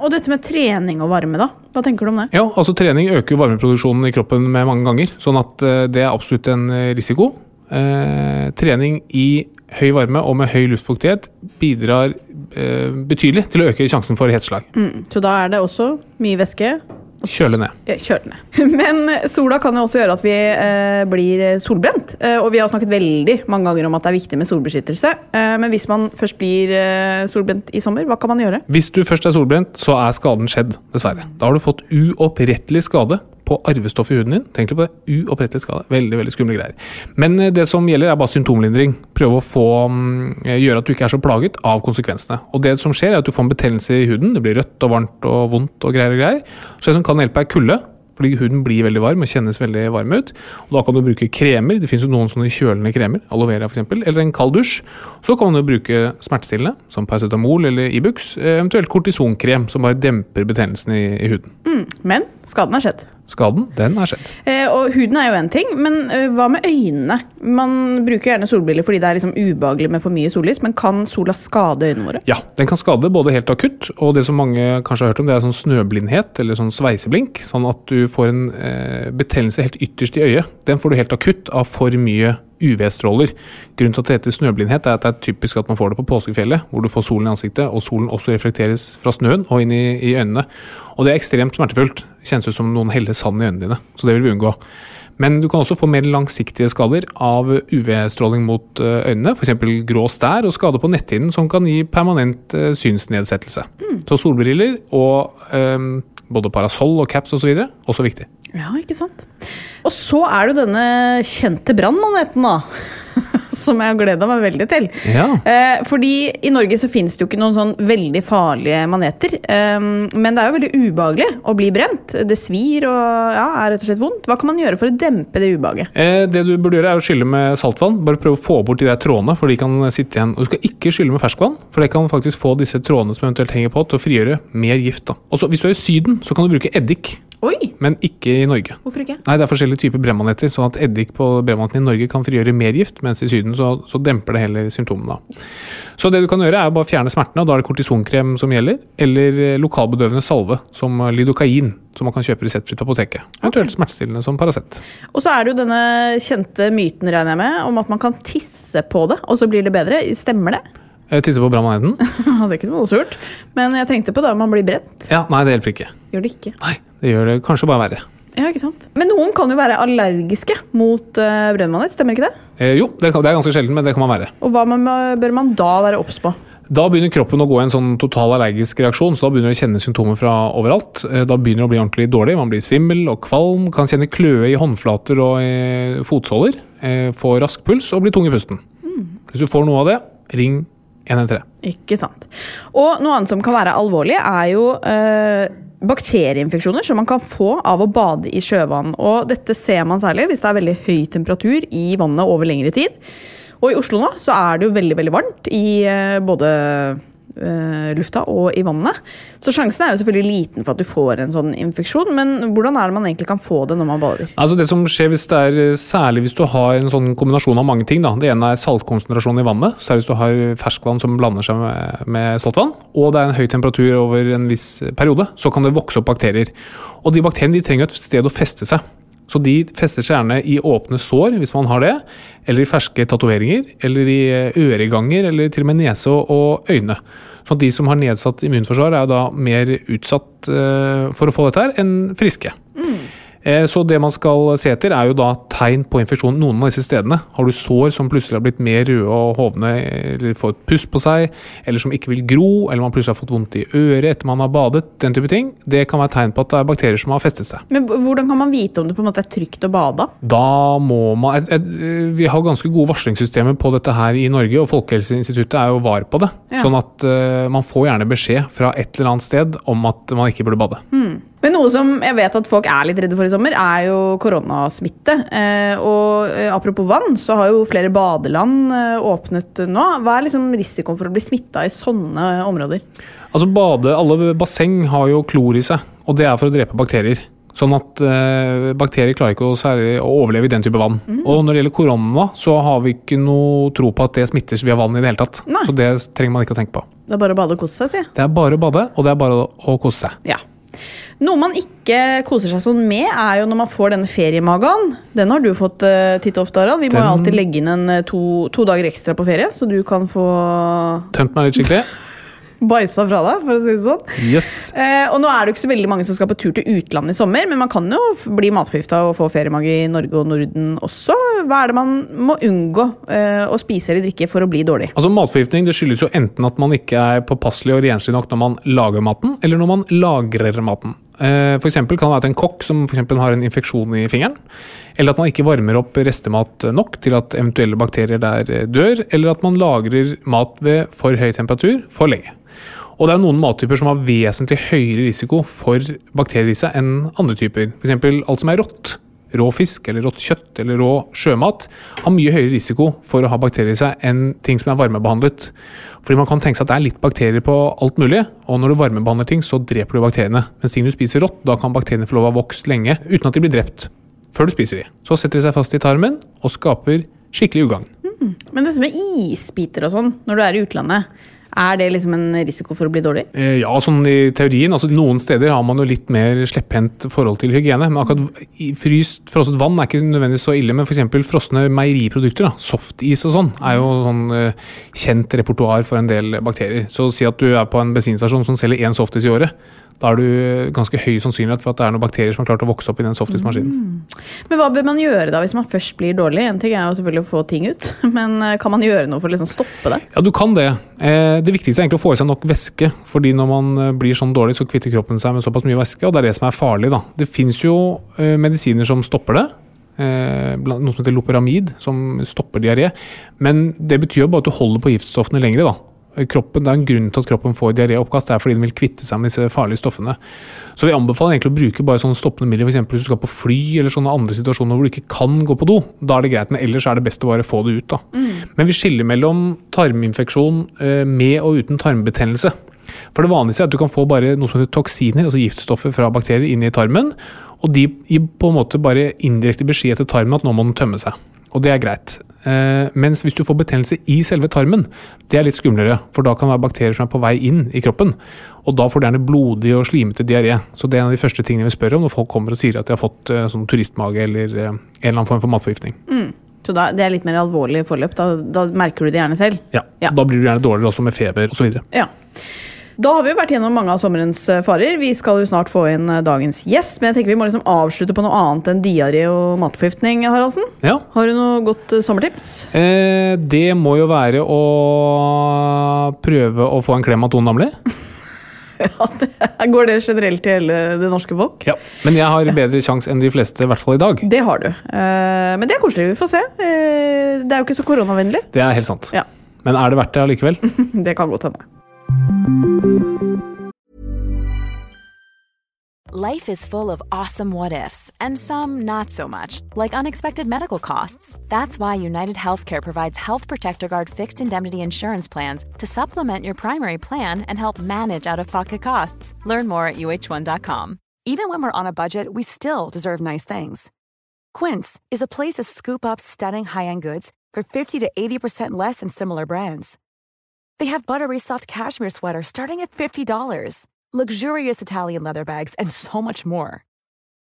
Speaker 2: Og dette med trening og varme, da. Hva tenker du om det?
Speaker 3: Ja, altså Trening øker jo varmeproduksjonen i kroppen med mange ganger, sånn at eh, det er absolutt en eh, risiko. Eh, trening i høy varme og med høy luftfuktighet bidrar eh, betydelig til å øke sjansen for hetslag.
Speaker 2: Så da er det også mye væske.
Speaker 3: Kjøle ned.
Speaker 2: Ja, Kjør den ned. Men sola kan jo også gjøre at vi eh, blir solbrent. Eh, og vi har snakket veldig mange ganger om at det er viktig med solbeskyttelse. Eh, men hvis man først blir eh, solbrent i sommer, hva kan man gjøre?
Speaker 3: Hvis du først er solbrent, så er skaden skjedd, dessverre. Da har du fått uopprettelig skade på arvestoffet i huden din. Tenk litt på det. Uopprettelig skade. Veldig veldig skumle greier. Men eh, det som gjelder, er bare symptomlindring. Prøve å få, mm, eh, gjøre at du ikke er så plaget av konsekvensene. Og det som skjer, er at du får en betennelse i huden. Det blir rødt og varmt og vondt og greier og greier. Så det som kan hjelpe, er kulde. Fordi huden blir veldig varm og kjennes veldig varm ut. Og Da kan du bruke kremer. Det finnes jo noen sånne kjølende kremer, aloe vera f.eks., eller en kald dusj. Så kan du bruke smertestillende, som paracetamol eller Ibux. eh, Eventuelt kortisonkrem, som bare demper betennelsen i, i huden.
Speaker 2: Men skaden har skjedd.
Speaker 3: Skaden, den er skjedd.
Speaker 2: Eh, og huden er jo én ting, men eh, hva med øynene? Man bruker gjerne solbriller fordi det er liksom ubehagelig med for mye sollys, men kan sola skade øynene våre?
Speaker 3: Ja, den kan skade både helt akutt, og det som mange kanskje har hørt om, det er sånn snøblindhet, eller sånn sveiseblink. Sånn at du får en eh, betennelse helt ytterst i øyet. Den får du helt akutt av for mye UV-stråler. Grunnen til at det heter snøblindhet, er at det er typisk at man får det på påskefjellet, hvor du får solen i ansiktet, og solen også reflekteres fra snøen og inn i, i øynene. Og det er ekstremt smertefullt. Kjennes ut som noen heller sand i øynene dine, så det vil vi unngå. Men du kan også få mer langsiktige skader av UV-stråling mot eh, øynene, f.eks. grå stær og skade på netthinnen som kan gi permanent eh, synsnedsettelse. Så solbriller og eh, både parasoll og caps osv. også viktig.
Speaker 2: Ja, ikke sant? Og så er det jo denne kjente brannmaneten, da. Som jeg har gleda meg veldig til.
Speaker 3: Ja.
Speaker 2: Eh, fordi i Norge så finnes det jo ikke noen sånn veldig farlige maneter. Eh, men det er jo veldig ubehagelig å bli brent. Det svir og ja, er rett og slett vondt. Hva kan man gjøre for å dempe det ubehaget?
Speaker 3: Eh, det du burde gjøre, er å skylle med saltvann. Bare prøv å få bort de der trådene, for de kan sitte igjen. Og du skal ikke skylle med ferskvann, for det kan faktisk få disse trådene som eventuelt henger på, til å frigjøre mer gift. da. Og så, Hvis du er i Syden, så kan du bruke eddik,
Speaker 2: Oi!
Speaker 3: men ikke i Norge.
Speaker 2: Hvorfor ikke?
Speaker 3: Nei, det er forskjellige typer brennmaneter, sånn at eddik på brennmaneten i Norge kan frigjøre mer gift, mens i Syden så, så demper det heller symptomene. Så det du kan gjøre er å bare fjerne smertene, og da er det kortisonkrem som gjelder, eller eh, lokalbedøvende salve, som eh, lidokain, som man kan kjøpe reseptfritt på apoteket. Eventuelt smertestillende som Paracet.
Speaker 2: Og så er det jo denne kjente myten, regner jeg med, om at man kan tisse på det, og så blir det bedre. Stemmer det?
Speaker 3: Eh, Tisse på brennmaneten?
Speaker 2: Ja, det kunne man også gjort. Men jeg tenkte på da man blir brent.
Speaker 3: Ja, nei, det hjelper ikke.
Speaker 2: Gjør det ikke.
Speaker 3: Nei, det gjør det kanskje bare verre.
Speaker 2: Ja, ikke sant? Men noen kan jo være allergiske mot uh, brennmanet, stemmer ikke det?
Speaker 3: Eh, jo, det, kan, det er ganske sjelden, men det kan man være.
Speaker 2: Og hva man, må- bør man da være obs på?
Speaker 3: Da begynner kroppen å gå i en sånn total allergisk reaksjon, så da begynner du å kjenne symptomer fra overalt. Eh, Da begynner det å bli ordentlig dårlig. Man blir svimmel og kvalm, kan kjenne kløe i håndflater og eh, fotsåler, eh, få rask puls og bli tung i pusten. Hvis du får noe av det, ring 113.
Speaker 2: Ikke sant. Og noe annet som kan være alvorlig, er jo eh, bakterieinfeksjoner som man kan få av å bade i sjøvann. Og dette ser man særlig hvis det er veldig høy temperatur i vannet over lengre tid. Og i Oslo nå så er det jo veldig, veldig varmt i eh, både eh, lufta og i vannet. Så sjansen er jo selvfølgelig liten for at du får en sånn infeksjon, men hvordan er det man egentlig kan få det når man bader?
Speaker 3: Altså Det som skjer hvis det er eh, særlig hvis du har en sånn kombinasjon av mange ting. da. Det ene er saltkonsentrasjon i vannet, særlig hvis du har ferskvann som blander seg med, med saltvann. Og det er en høy temperatur over en viss periode, så kan det vokse opp bakterier. Og de bakteriene de trenger et sted å feste seg. Så de fester seg gjerne i åpne sår, hvis man har det, eller i ferske tatoveringer, eller i eh, øreganger, eller til og med nese og- og øyne. Så de som har nedsatt immunforsvar, er jo da mer utsatt eh, for å få dette her enn friske. Eh, Så det man skal se etter, er jo da tegn på infeksjon noen av disse stedene. Har du sår som plutselig har blitt mer røde og hovne, eller får et puss på seg, eller som ikke vil gro, eller man plutselig har fått vondt i øret etter man har badet, den type ting, det kan være tegn på at det er bakterier som har festet seg.
Speaker 2: Men h- hvordan kan man vite om det på en måte er trygt å bade?
Speaker 3: Da må man et, et, Vi har ganske gode varslingssystemer på dette her i Norge, og Folkehelseinstituttet er jo var på det.
Speaker 2: Ja.
Speaker 3: Sånn at eh, man får gjerne beskjed fra et eller annet sted om at man ikke burde bade.
Speaker 2: Men noe som jeg vet at folk er litt redde for i sommer, er jo koronasmitte. Eh, og eh, apropos vann, så har jo flere badeland eh, åpnet eh, nå. Hva er liksom risikoen for å bli smitta i sånne områder?
Speaker 3: Altså bade, Alle basseng har jo klor i seg, og det er for å drepe bakterier. Sånn at eh, bakterier klarer ikke å, særlig, å overleve i den type vann. Og når det gjelder korona, så har vi ikke noe tro på at det smitter via vann i det hele tatt.
Speaker 2: Nei.
Speaker 3: Så det trenger man ikke å tenke på.
Speaker 2: Det er bare å bade og kose seg, sier jeg.
Speaker 3: Det er bare å bade, og det er bare å, å kose seg.
Speaker 2: Ja. Noe man ikke koser seg sånn med, er jo når man får denne feriemagaen. Den har du fått eh, titt og ofte, Harald. Vi må jo alltid legge inn en eh, to, to dager ekstra på ferie, så du kan få
Speaker 3: Tømt meg litt skikkelig.
Speaker 2: bæsja fra deg, for å si det sånn.
Speaker 3: Yes.
Speaker 2: Eh, og nå er det jo ikke så veldig mange som skal på tur til utlandet i sommer, men man kan jo f- bli matforgifta og få feriemage i Norge og Norden også. Hva er det man må unngå eh, å spise eller drikke for å bli dårlig?
Speaker 3: Altså Matforgiftning det skyldes jo enten at man ikke er påpasselig og renslig nok når man lager maten, eller når man lagrer maten. Eh, For eksempel kan det være at en kokk som for eksempel har en infeksjon i fingeren, eller at man ikke varmer opp restemat nok til at eventuelle bakterier der eh, dør, eller at man lagrer mat ved for høy temperatur for lenge. Og det er noen mattyper som har vesentlig høyere risiko for bakterier i seg enn andre typer. F.eks. alt som er rått. Rå fisk eller rått kjøtt eller rå sjømat har mye høyere risiko for å ha bakterier i seg enn ting som er varmebehandlet. Fordi man kan tenke seg at det er litt bakterier på alt mulig, og når du varmebehandler ting, så dreper du bakteriene. Mens ting du spiser rått, da kan bakteriene få lov å ha vokst lenge uten at de blir drept. Før du spiser de. Så setter de seg fast i tarmen og skaper skikkelig ugagn.
Speaker 2: Men dette med isbiter og sånn når du er i utlandet, er det liksom en risiko for å bli dårlig?
Speaker 3: Eh, Ja, sånn i teorien. altså Noen steder har man jo litt mer slepphendt forhold til hygiene. Men akkurat i- fryst, frosset vann er ikke nødvendigvis så ille. Men f.eks. frosne meieriprodukter, da, softis og sånn, er jo sånn eh, kjent repertoar for en del bakterier. Så si at du er på en bensinstasjon som selger én softis i året. Da er du eh, ganske høy sannsynlighet for at det er noen bakterier som har klart å vokse opp i den softismaskinen.
Speaker 2: Men hva bør man gjøre da hvis man først blir dårlig? En ting er jo selvfølgelig å få ting ut, men eh, kan man gjøre noe for å liksom stoppe det?
Speaker 3: Ja, du kan det. Eh, det viktigste er egentlig å få i seg nok væske. fordi når man eh, blir sånn dårlig, så kvitter kroppen seg med såpass mye væske, og det er det som er farlig. da. Det fins jo eh, medisiner som stopper det. Eh, blant- noe som heter loperamid, som stopper diaré. Men det betyr jo bare at du holder på giftstoffene lengre. da. Kroppen, det er en grunn til at kroppen får diaré og oppkast. Det er fordi den vil kvitte seg med disse farlige stoffene. Så vi anbefaler egentlig å bruke bare sånne stoppende midler, f.eks. hvis du skal på fly eller sånne andre situasjoner hvor du ikke kan gå på do. Da er det greit, men ellers er det best å bare få det ut. da. Men vi skiller mellom tarminfeksjon eh, med og uten tarmbetennelse. For det vanligste er at du kan få bare noe som heter toksiner, altså giftstoffer fra bakterier, inn i tarmen. Og de gir på en måte bare indirekte beskjed til tarmen at nå må den tømme seg. Og det er greit. Eh, mens hvis du får betennelse i selve tarmen, det er litt skumlere. For da kan det være bakterier som er på vei inn i kroppen. Og da får du gjerne blodig og slimete diaré. Så det er en av de første tingene vi spør om når folk kommer og sier at de har fått eh, sånn turistmage eller eh, en eller annen form for matforgiftning.
Speaker 2: Så da, det er litt mer alvorlig forløp, da, da merker du det gjerne selv.
Speaker 3: Ja.
Speaker 2: Ja.
Speaker 3: Da blir du gjerne dårligere også med feber osv.
Speaker 2: Ja. Da har vi jo vært gjennom mange av sommerens eh, farer. Vi skal jo snart få inn eh, dagens gjest, men jeg tenker vi må liksom avslutte på noe annet enn diaré og matforgiftning, Haraldsen.
Speaker 3: Ja.
Speaker 2: Har du noe godt eh, sommertips?
Speaker 3: Eh, det må jo være å prøve å få en klem av Tone Damli.
Speaker 2: Ja, det, går det generelt til hele det norske folk?
Speaker 3: Ja. Men jeg har bedre sjanse enn de fleste, i hvert fall i dag.
Speaker 2: Det har du. Eh, men det er koselig. Vi får se. Eh, det er jo ikke så koronavennlig.
Speaker 3: Det er helt sant.
Speaker 2: Ja.
Speaker 3: Men er det verdt det allikevel?
Speaker 2: Det kan godt hende.
Speaker 4: Life is full of awesome what ifs, and some not so much, like unexpected medical costs. That's why United Healthcare provides Health Protector Guard fixed indemnity insurance plans to supplement your primary plan and help manage out of pocket costs. Learn more at uh1.com.
Speaker 5: Even when we're on a budget, we still deserve nice things. Quince is a place to scoop up stunning high end goods for 50 to 80% less than similar brands. They have buttery soft cashmere sweaters starting at $50, luxurious Italian leather bags, and so much more.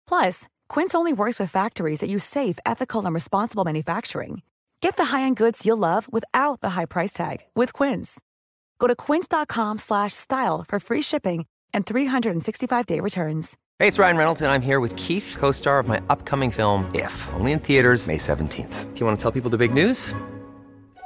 Speaker 5: Plus, Quince only works with factories that use safe, ethical, and responsible manufacturing. Get the high-end goods you'll love without the high price tag with Quince. Go to quince.com/style slash style for free shipping and 365-day returns.
Speaker 6: Hey, it's Ryan Reynolds, and I'm here with Keith, co star of my upcoming film, If, only in theaters, May 17th. Do you want to tell people the big news?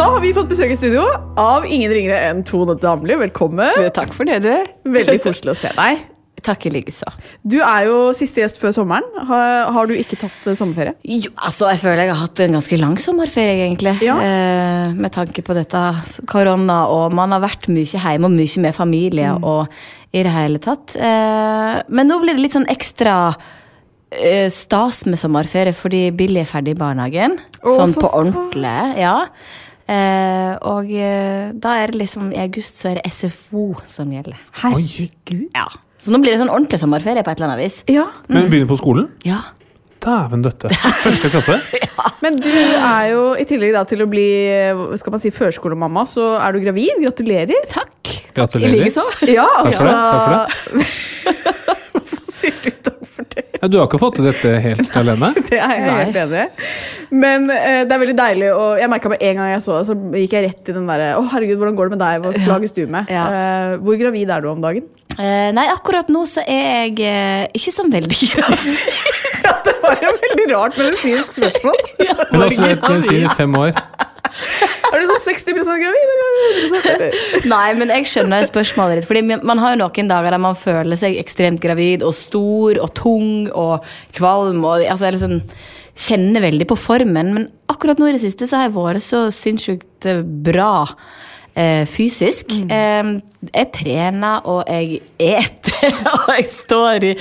Speaker 2: Da har vi fått besøk i studio av ingen ringere enn Tone Damli. Velkommen.
Speaker 7: Takk for det, du.
Speaker 2: Veldig koselig å se deg.
Speaker 7: Takk i like så.
Speaker 2: Du er jo siste gjest før sommeren. Har, har du ikke tatt eh, sommerferie?
Speaker 7: Jo, altså, jeg føler jeg har hatt en ganske lang sommerferie, egentlig.
Speaker 2: Ja.
Speaker 7: Eh, med tanke på dette s- korona, og man har vært mye hjemme og mye med familie
Speaker 2: Mm.
Speaker 7: og i det hele tatt. Eh, men nå blir det litt sånn ekstra eh, stas med sommerferie, fordi Billy er ferdig i barnehagen.
Speaker 2: Å,
Speaker 7: sånn
Speaker 2: så
Speaker 7: på
Speaker 2: stas.
Speaker 7: ordentlig. Ja. Eh, og eh, da er det liksom i august så er det SFO som gjelder.
Speaker 2: Herregud.
Speaker 7: Ja. Så nå blir det sånn ordentlig sommerferie på et eller annet vis.
Speaker 2: Ja,
Speaker 3: Men begynner på skolen?
Speaker 7: Ja.
Speaker 3: Dæven døtte. Første klasse?
Speaker 2: Men du er jo, i tillegg da, til å bli eh, skal man si, førskolemamma, så er du gravid. Gratulerer.
Speaker 7: Takk. I
Speaker 3: Gratulerer.
Speaker 7: like så.
Speaker 2: Ja, altså-
Speaker 3: Takk for det. Takk for det.
Speaker 2: Hvorfor sier du takk for det?
Speaker 3: Ja, du har ikke fått til dette helt alene?
Speaker 2: Det er jeg helt enig i. Men eh, det er veldig deilig. Og jeg merket med en gang jeg så det, så gikk jeg rett i den derre Å, herregud, hvordan går det med deg? Hva plages du med?
Speaker 7: Ja.
Speaker 2: Eh, hvor gravid er du om dagen?
Speaker 7: Eh, nei, akkurat nå så er jeg eh, ikke sånn veldig gravid.
Speaker 2: Ja, det var et veldig rart medisinsk spørsmål.
Speaker 3: Hun har studert medisin i fem år.
Speaker 2: Er du sånn 60 gravid, eller 100 eller?
Speaker 7: nei, men jeg skjønner spørsmålet ditt. Fordi man- man har jo noen dager der man føler seg ekstremt gravid og stor og tung og kvalm og altså, jeg liksom kjenner veldig på formen. Men akkurat nå i det siste så har jeg vært så sinnssykt eh, bra. eh, fysisk. Eh, jeg trener, og jeg eter, og jeg står i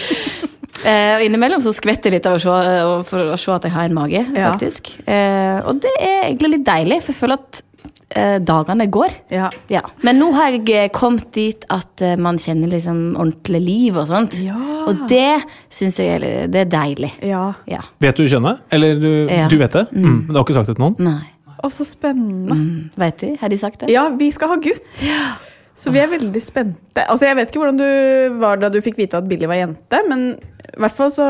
Speaker 7: eh, Og innimellom så skvetter jeg litt av å se, og for å se at jeg har en mage,
Speaker 2: Ja.
Speaker 7: faktisk. Eh, og det er egentlig litt deilig, for jeg føler at eh, dagene går.
Speaker 2: Ja.
Speaker 7: Men nå har jeg eh, kommet dit at eh, man kjenner liksom ordentlig liv og sånt.
Speaker 2: Ja.
Speaker 7: Og det syns jeg er, det er deilig.
Speaker 2: Ja.
Speaker 7: Ja.
Speaker 3: Vet du kjønnet? Eller du,
Speaker 7: Ja.
Speaker 3: du vet det? Mm. Men du har ikke sagt det til noen?
Speaker 7: Nei.
Speaker 2: Å, så spennende.
Speaker 7: Veit de? Har de sagt det?
Speaker 2: Ja, vi skal ha gutt. Så vi er veldig spente. Altså, Jeg vet ikke hvordan du var da du fikk vite at Billy var jente, men i hvert fall så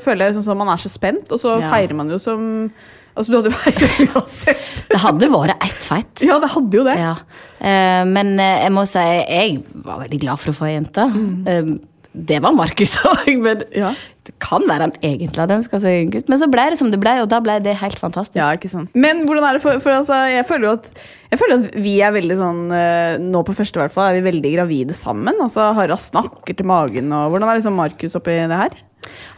Speaker 2: føler jeg liksom sånn man er så spent, og så
Speaker 7: Ja.
Speaker 2: feirer man jo som Altså, du hadde feiret uansett.
Speaker 7: Det hadde vært ett feit.
Speaker 2: Ja, det hadde jo det.
Speaker 7: Ja. Eh, men eh, jeg må si jeg var veldig glad for å få ei jente. Eh, det var Markus òg, men
Speaker 2: Mm. Ja.
Speaker 7: det kan være han egentlig hadde ønska seg en gutt. Men så ble det som det ble, og da ble det helt fantastisk.
Speaker 2: Ja, ikke sant. Men hvordan er det for, for altså, jeg føler jo at jeg føler at vi er veldig sånn eh, Nå på første hvert fall er vi veldig gravide sammen. Altså, Harald snakker til magen, og hvordan er liksom Markus oppi det her?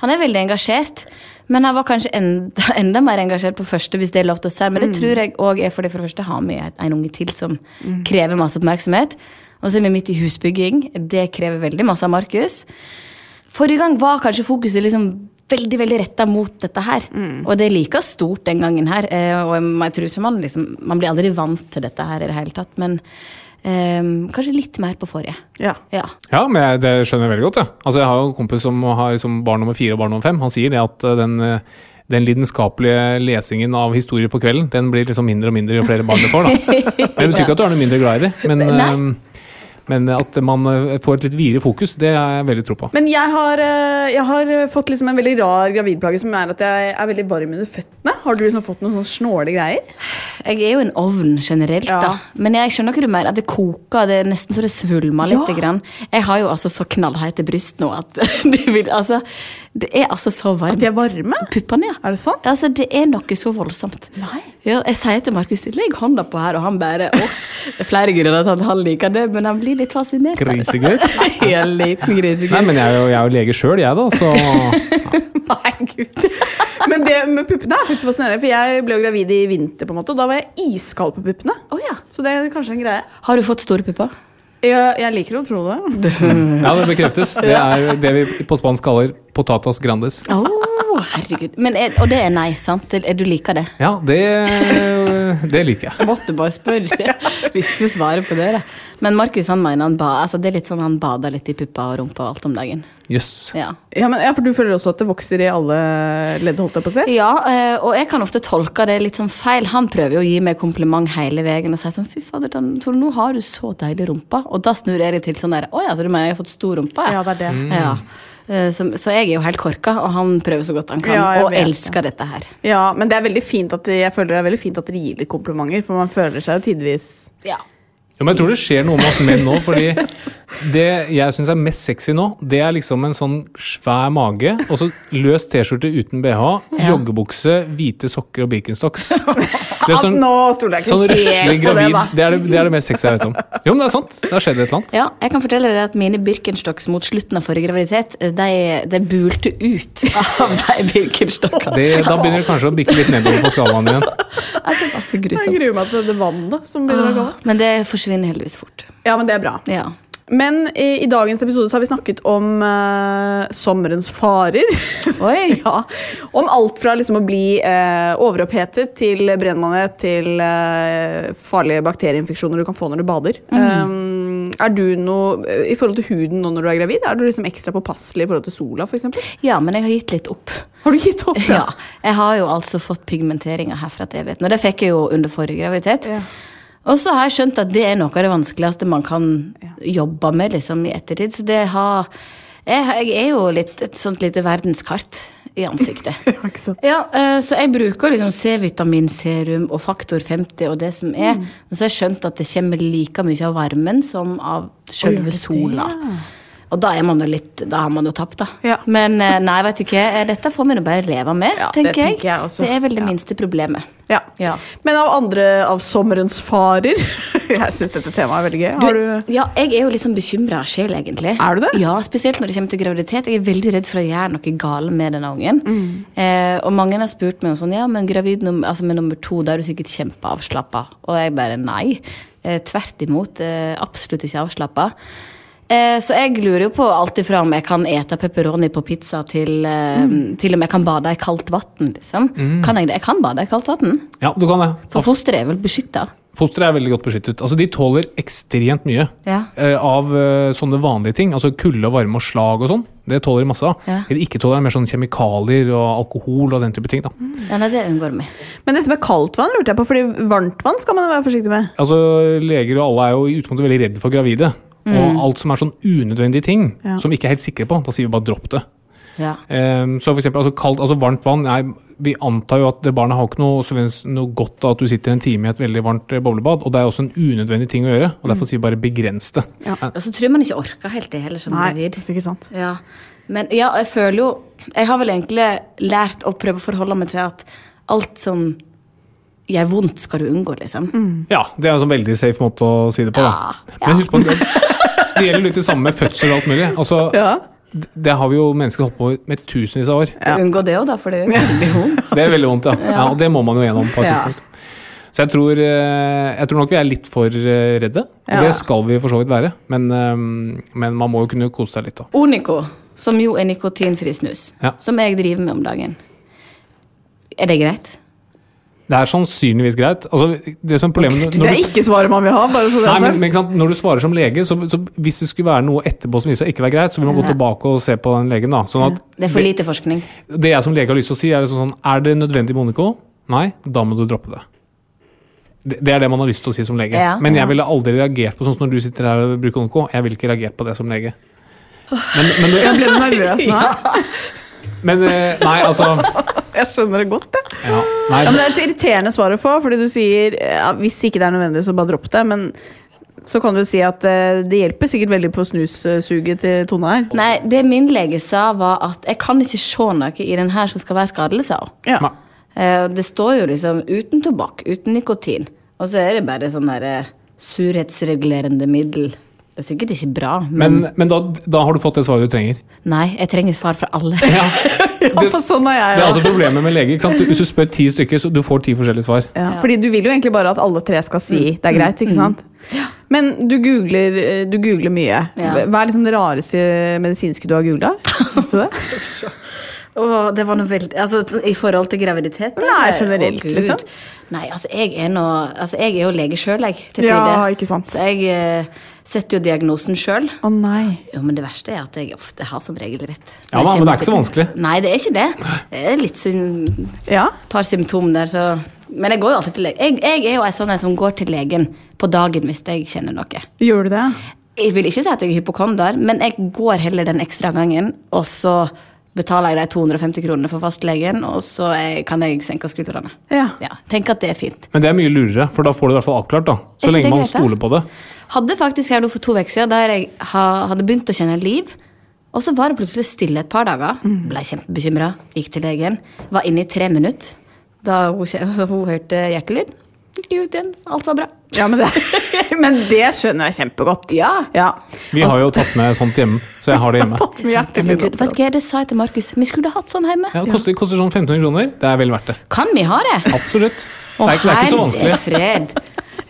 Speaker 7: Han er veldig engasjert, men han var kanskje enda, enda mer engasjert på første, hvis det er lov til å si. Men det tror jeg òg er fordi for det første har vi et- en unge til som krever masse oppmerksomhet. Og så er vi midt i husbygging. Det krever veldig masse av Markus. Forrige gang var kanskje fokuset liksom veldig veldig retta mot dette her. Og det er like stort den gangen her. eh, Og jeg tror ikke man, liksom, man blir aldri vant til dette her i det hele tatt, men eh, kanskje litt mer på forrige.
Speaker 2: Ja.
Speaker 7: Ja.
Speaker 3: Ja, men jeg, det skjønner jeg veldig godt. Ja. Altså, jeg har jo en kompis som har liksom barn nummer fire og barn nummer fem. Han sier det at eh, den, eh, den lidenskapelige lesingen av historier på kvelden, den blir liksom mindre og mindre jo flere barn du får. Da. Men Det betyr ikke at du er noe mindre glad i dem, men,
Speaker 7: Nei.
Speaker 3: eh, men at man eh, får et litt videre fokus, det har jeg veldig tro på.
Speaker 2: Men jeg har, eh, jeg har fått liksom en veldig rar gravidplage som er at jeg er veldig varm under føttene. Har du liksom fått noen sånne snåle greier?
Speaker 7: Jeg er jo en ovn generelt,
Speaker 2: Ja.
Speaker 7: da. men jeg skjønner hva du mener. At det koker, det er nesten så det svulmer
Speaker 2: Ja.
Speaker 7: litt. Grann. Jeg har jo altså så knallhete bryst nå at det, vil, altså, det er altså så varmt.
Speaker 2: At de er varme?
Speaker 7: Puppene, ja.
Speaker 2: Er det sant?
Speaker 7: Altså, det er noe så voldsomt.
Speaker 2: Nei.
Speaker 7: Ja, jeg sier til Markus 'legg hånda på her', og han bare «Åh, Det er flere grunner til at han liker det, men han blir litt fascinert.
Speaker 3: Grisegutt.
Speaker 7: Ja, en liten
Speaker 3: Nei,
Speaker 7: grisegutt.
Speaker 3: men jeg er jo, jeg er jo lege sjøl, jeg, da, så
Speaker 2: Nei, gud. Men det med puppene er faktisk fascinerende, for jeg ble jo gravid i vinter, på en måte, og da var jeg iskald på puppene.
Speaker 7: Å, ja.
Speaker 2: Så det er kanskje en greie.
Speaker 7: Har du fått store pupper?
Speaker 2: Jeg, jeg liker å tro det.
Speaker 3: Ja, det bekreftes. Det er det vi på spansk kaller potatas grandes.
Speaker 7: Å, herregud. Men er, og det er nei, sant? Det- Er, du liker det?
Speaker 3: Ja, det, det liker jeg.
Speaker 7: Jeg måtte bare spørre. Visste svaret på det. Men Markus han mener han ba, altså det er litt sånn han bader litt i puppa og rumpa og alt om dagen.
Speaker 3: Jøss.
Speaker 7: Ja.
Speaker 2: Ja, men, ja, For du føler også at det vokser i alle ledd, holdt jeg på å si?
Speaker 7: Ja, eh, og jeg kan ofte tolke det litt sånn feil. Han prøver jo å gi meg kompliment hele veien og sier sånn 'fy fader, Dan- Tore, nå har du så deilig rumpa'. Og da snur jeg det til sånn der 'å ja, så du mener jeg har fått stor rumpa'? jeg?»
Speaker 2: Ja, det er det.
Speaker 7: Ja. Eh, Så, så jeg er jo helt korka, og han prøver så godt han kan,
Speaker 2: Ja, jeg
Speaker 7: og
Speaker 2: vet det.
Speaker 7: elsker dette her.
Speaker 2: Ja, men det er veldig fint at jeg føler det er veldig fint at dere gir litt komplimenter, for man føler seg jo tidvis
Speaker 7: Ja.
Speaker 3: Ja, men jeg tror det skjer noe med oss menn nå, fordi det jeg syns er mest sexy nå, det er liksom en sånn svær mage, og så løs T-skjorte uten bh, joggebukse, hvite sokker og Birkenstocks. Så det er
Speaker 2: At
Speaker 3: sånn,
Speaker 2: nå stoler jeg
Speaker 3: sånn
Speaker 2: ikke
Speaker 3: røslig
Speaker 2: helt på det,
Speaker 3: gravid,
Speaker 2: da.
Speaker 3: det er det, det er det mest sexy jeg vet om. Jo, men det er sant. Det har skjedd et eller annet.
Speaker 7: Ja, jeg kan fortelle dere at mine Birkenstocks mot slutten av forrige graviditet, eh, de, de bulte ut av de Birkenstockene.
Speaker 3: Det, da begynner det kanskje å bikke litt nedover på skalaen igjen.
Speaker 7: Ja, Det var så
Speaker 2: Jeg
Speaker 7: grusomt.
Speaker 2: gruer meg til det vannet som begynner å gå.
Speaker 7: Men det forsvinner heldigvis fort.
Speaker 2: Ja, men det er bra.
Speaker 7: Ja.
Speaker 2: Men i, i dagens episode så har vi snakket om eh, sommerens farer.
Speaker 7: Oi.
Speaker 2: ja, om alt fra liksom å bli eh, overopphetet til brennmanet til eh, farlige bakterieinfeksjoner du kan få når du bader.
Speaker 7: Mhm.
Speaker 2: Um, er du noe, eh, I forhold til huden nå når du er gravid, er du liksom ekstra påpasselig i forhold til sola f.eks.?
Speaker 7: ja, men jeg har gitt litt opp.
Speaker 2: Har du gitt opp?
Speaker 7: Ja, jeg har jo altså fått pigmenteringer herfra til evigheten, og det fikk jeg jo under forrige graviditet.
Speaker 2: Ja.
Speaker 7: Og så har jeg skjønt at det er noe av det vanskeligste man kan jobbe med liksom, i ettertid. Så det har jeg, jeg er jo litt et sånt lite verdenskart i ansiktet.
Speaker 2: Ikke sant?
Speaker 7: Ja, eh, så jeg bruker liksom C-vitaminserum og faktor 50 og det som
Speaker 2: Mm.
Speaker 7: er. Og så har jeg skjønt at det kommer like mye av varmen som av
Speaker 2: Å, gjør
Speaker 7: selve
Speaker 2: det
Speaker 7: sola. Og da er man jo litt Da har man jo tapt, da.
Speaker 2: Ja.
Speaker 7: Men eh, nei, vet du hva. eh, Dette får vi nå bare leve med,
Speaker 2: Ja, det
Speaker 7: tenker jeg.
Speaker 2: tenker jeg også.
Speaker 7: Det er vel det
Speaker 2: Ja.
Speaker 7: minste problemet.
Speaker 2: Ja.
Speaker 7: Ja.
Speaker 2: Men av andre av sommerens farer Jeg syns dette temaet er veldig gøy. Har du
Speaker 7: Ja, jeg er jo litt sånn bekymra sjel, egentlig.
Speaker 2: Er du det?
Speaker 7: Ja, Spesielt når det kommer til graviditet. Jeg er veldig redd for å gjøre noe galt med denne ungen.
Speaker 2: Mm.
Speaker 7: Eh, og mange har spurt meg om sånn, ja, men gravid num altså med nummer to, da er du sikkert kjempeavslappa. Og jeg bare nei. Eh, tvert imot. Eh, absolutt ikke avslappa. Eh, så jeg lurer jo på alt ifra om jeg kan ete pepperoni på pizza, til, eh,
Speaker 2: Mm.
Speaker 7: til om jeg kan bade i kaldt vann, liksom. Kan jeg det? Jeg kan bade i kaldt vann.
Speaker 3: Ja, du kan det.
Speaker 7: For fosteret er vel beskytta?
Speaker 3: Fostre er veldig godt beskyttet. Altså, de tåler ekstremt mye
Speaker 7: Ja.
Speaker 3: eh, av eh, sånne vanlige ting. Altså kulde og varme og slag og sånn. Det tåler de masse av.
Speaker 7: Ja.
Speaker 3: Det de ikke tåler, er mer sånn kjemikalier og alkohol og den type ting. da.
Speaker 7: Ja, nei, det unngår vi.
Speaker 2: Men dette med kaldt vann lurte jeg på, fordi varmt vann skal man være forsiktig med.
Speaker 3: Altså, Leger og alle er jo i utgangspunktet veldig redde for gravide.
Speaker 7: Mm.
Speaker 3: Og alt som er sånn unødvendige ting
Speaker 2: Ja.
Speaker 3: som vi ikke er helt sikre på, da sier vi bare dropp det.
Speaker 7: Ja.
Speaker 3: Ehm, så for eksempel, altså, kaldt, altså varmt vann er, Vi antar jo at det barnet har ikke noe, så vel- noe godt av at du sitter en time i et veldig varmt eh, boblebad. Og det er også en unødvendig ting å gjøre.
Speaker 7: Mm.
Speaker 3: Og derfor sier vi bare begrens det.
Speaker 7: Og så tror jeg man ikke orker helt det heller som gravid.
Speaker 2: det er sikkert sant.
Speaker 7: Ja. Men ja, jeg føler jo Jeg har vel egentlig lært å prøve å forholde meg til at alt som gjør vondt, skal du unngå, liksom.
Speaker 3: Ja, det er en sånn veldig safe måte å si det på. Da.
Speaker 7: Ja, ja.
Speaker 3: Men husk på, det, det gjelder litt det samme med fødsel og alt mulig. Altså,
Speaker 2: Ja.
Speaker 3: d- Det har vi jo mennesker holdt på med tusenvis av år.
Speaker 7: Unngå det òg, da, for det gjør veldig vondt.
Speaker 3: Det er veldig vondt, ja. ja. Og det må man jo gjennom på et
Speaker 7: Ja.
Speaker 3: tidspunkt. Så jeg tror, eh, jeg tror nok vi er litt for eh, redde. Og
Speaker 2: Ja.
Speaker 3: det skal vi for så vidt være. Men, eh, men man må jo kunne kose seg litt, da.
Speaker 7: Onico, som jo er nikotinfri snus,
Speaker 3: Ja.
Speaker 7: som jeg driver med om dagen. Er det greit?
Speaker 3: Det er sannsynligvis greit. Altså, det som er problemet når-
Speaker 2: Det
Speaker 3: når
Speaker 2: er
Speaker 3: du,
Speaker 2: ikke svaret man vil ha, bare så det
Speaker 3: Nei,
Speaker 2: er
Speaker 3: men, men
Speaker 2: sagt.
Speaker 3: ikke sant? Når du svarer som lege, så, så hvis det skulle være noe etterpå som viser seg ikke være greit, så vil man gå tilbake og se på den legen. da. Sånn at
Speaker 7: Det er for lite forskning.
Speaker 3: Det jeg som lege har lyst til å si, er liksom sånn Er det nødvendig med Onico? Nei, da må du droppe det. Det det er det man har lyst til å si som lege.
Speaker 7: Ja,
Speaker 3: Men
Speaker 7: ja.
Speaker 3: jeg ville aldri reagert på sånn som når du sitter her og bruker Onico. Jeg ville ikke reagert på det som lege. Men, men,
Speaker 2: Jeg ble nervøs nå.
Speaker 3: men eh, Nei, altså
Speaker 2: Jeg skjønner det godt. jeg.
Speaker 3: ja, nei,
Speaker 2: Ja, men det er et så irriterende svar å få, fordi du sier ja, hvis ikke det er nødvendig, så bare dropp det. Men så kan du si at eh, det hjelper sikkert veldig på snussuget til Tone her.
Speaker 7: Nei, det min lege sa, var at jeg kan ikke se noe i den her som skal være skadelig, sa hun.
Speaker 2: Ja.
Speaker 3: nei.
Speaker 7: Eh, og Det står jo liksom uten tobakk, uten nikotin. Og så er det bare sånn derre eh, surhetsregulerende middel. Det er sikkert ikke bra, men,
Speaker 3: Men, men da, da har du fått det svaret du trenger.
Speaker 7: nei, jeg trenger svar fra alle.
Speaker 2: Ja, for sånn er jeg
Speaker 3: Det er
Speaker 2: også.
Speaker 3: altså problemet med lege. ikke sant? Du- Hvis du spør ti stykker, så du får ti forskjellige svar.
Speaker 2: Ja, fordi du vil jo egentlig bare at alle tre skal si
Speaker 3: Mm.
Speaker 2: det er greit, ikke sant? Men du googler, eh, du googler mye.
Speaker 7: Ja.
Speaker 2: Hva er liksom det rareste medisinske du har googla?
Speaker 7: Åh, det var noe veldig Altså sånn i forhold til graviditet?
Speaker 2: Nei,
Speaker 7: eller?
Speaker 2: generelt,
Speaker 7: Å, Gud.
Speaker 2: liksom.
Speaker 7: Nei, altså jeg er nå Altså jeg er jo lege sjøl, jeg, til
Speaker 2: Ja,
Speaker 7: tider.
Speaker 2: ikke sant.
Speaker 7: Så jeg eh, setter jo diagnosen sjøl.
Speaker 2: Å nei.
Speaker 7: Jo, men det verste er at jeg ofte har som regel rett.
Speaker 3: Ja,
Speaker 7: Når jeg
Speaker 3: men det er
Speaker 7: kommer
Speaker 3: ikke
Speaker 7: til-
Speaker 3: så vanskelig.
Speaker 7: Nei, det er ikke det. Det er litt synd
Speaker 2: Ja.
Speaker 7: par symptom der, så Men jeg går jo alltid til legen. Jeg, jeg er jo en sånn en som går til legen på dagen hvis jeg kjenner noe.
Speaker 2: Gjorde du det?
Speaker 7: Jeg vil ikke si at jeg er hypokonder, men jeg går heller den ekstra gangen, og så betaler jeg de 250 kronene for fastlegen, og så eh, kan jeg senke skuldrene.
Speaker 2: Ja.
Speaker 7: Ja, tenk at det er fint.
Speaker 3: Men det er mye lurere, for da får du det i hvert fall avklart. da.
Speaker 7: Er
Speaker 3: Så
Speaker 7: ikke
Speaker 3: lenge
Speaker 7: det
Speaker 3: man
Speaker 7: greit, da?
Speaker 3: stoler på det.
Speaker 7: Hadde faktisk her nå for to uker siden der jeg ha, hadde begynt å kjenne liv. Og så var det plutselig stille et par dager.
Speaker 2: Mm.
Speaker 7: Ble kjempebekymra. Gikk til legen. Var inne i tre minutter. Da hun, kje- altså, hun hørte hjertelyd, gikk ut igjen. Alt var bra.
Speaker 2: Ja, men det, men det skjønner jeg kjempegodt.
Speaker 7: Ja.
Speaker 3: Vi har jo tatt med sånt hjemme, så jeg har det hjemme.
Speaker 2: Tatt med hjertelyd.
Speaker 7: Herregud, vet du hva det sa jeg til Markus? Vi skulle hatt sånn hjemme.
Speaker 3: Ja, det koster, koster sånn 1500 kroner. Det er vel verdt det.
Speaker 7: Kan vi ha det?
Speaker 3: Absolutt. Det er, ikke- det er ikke så vanskelig.
Speaker 7: fred.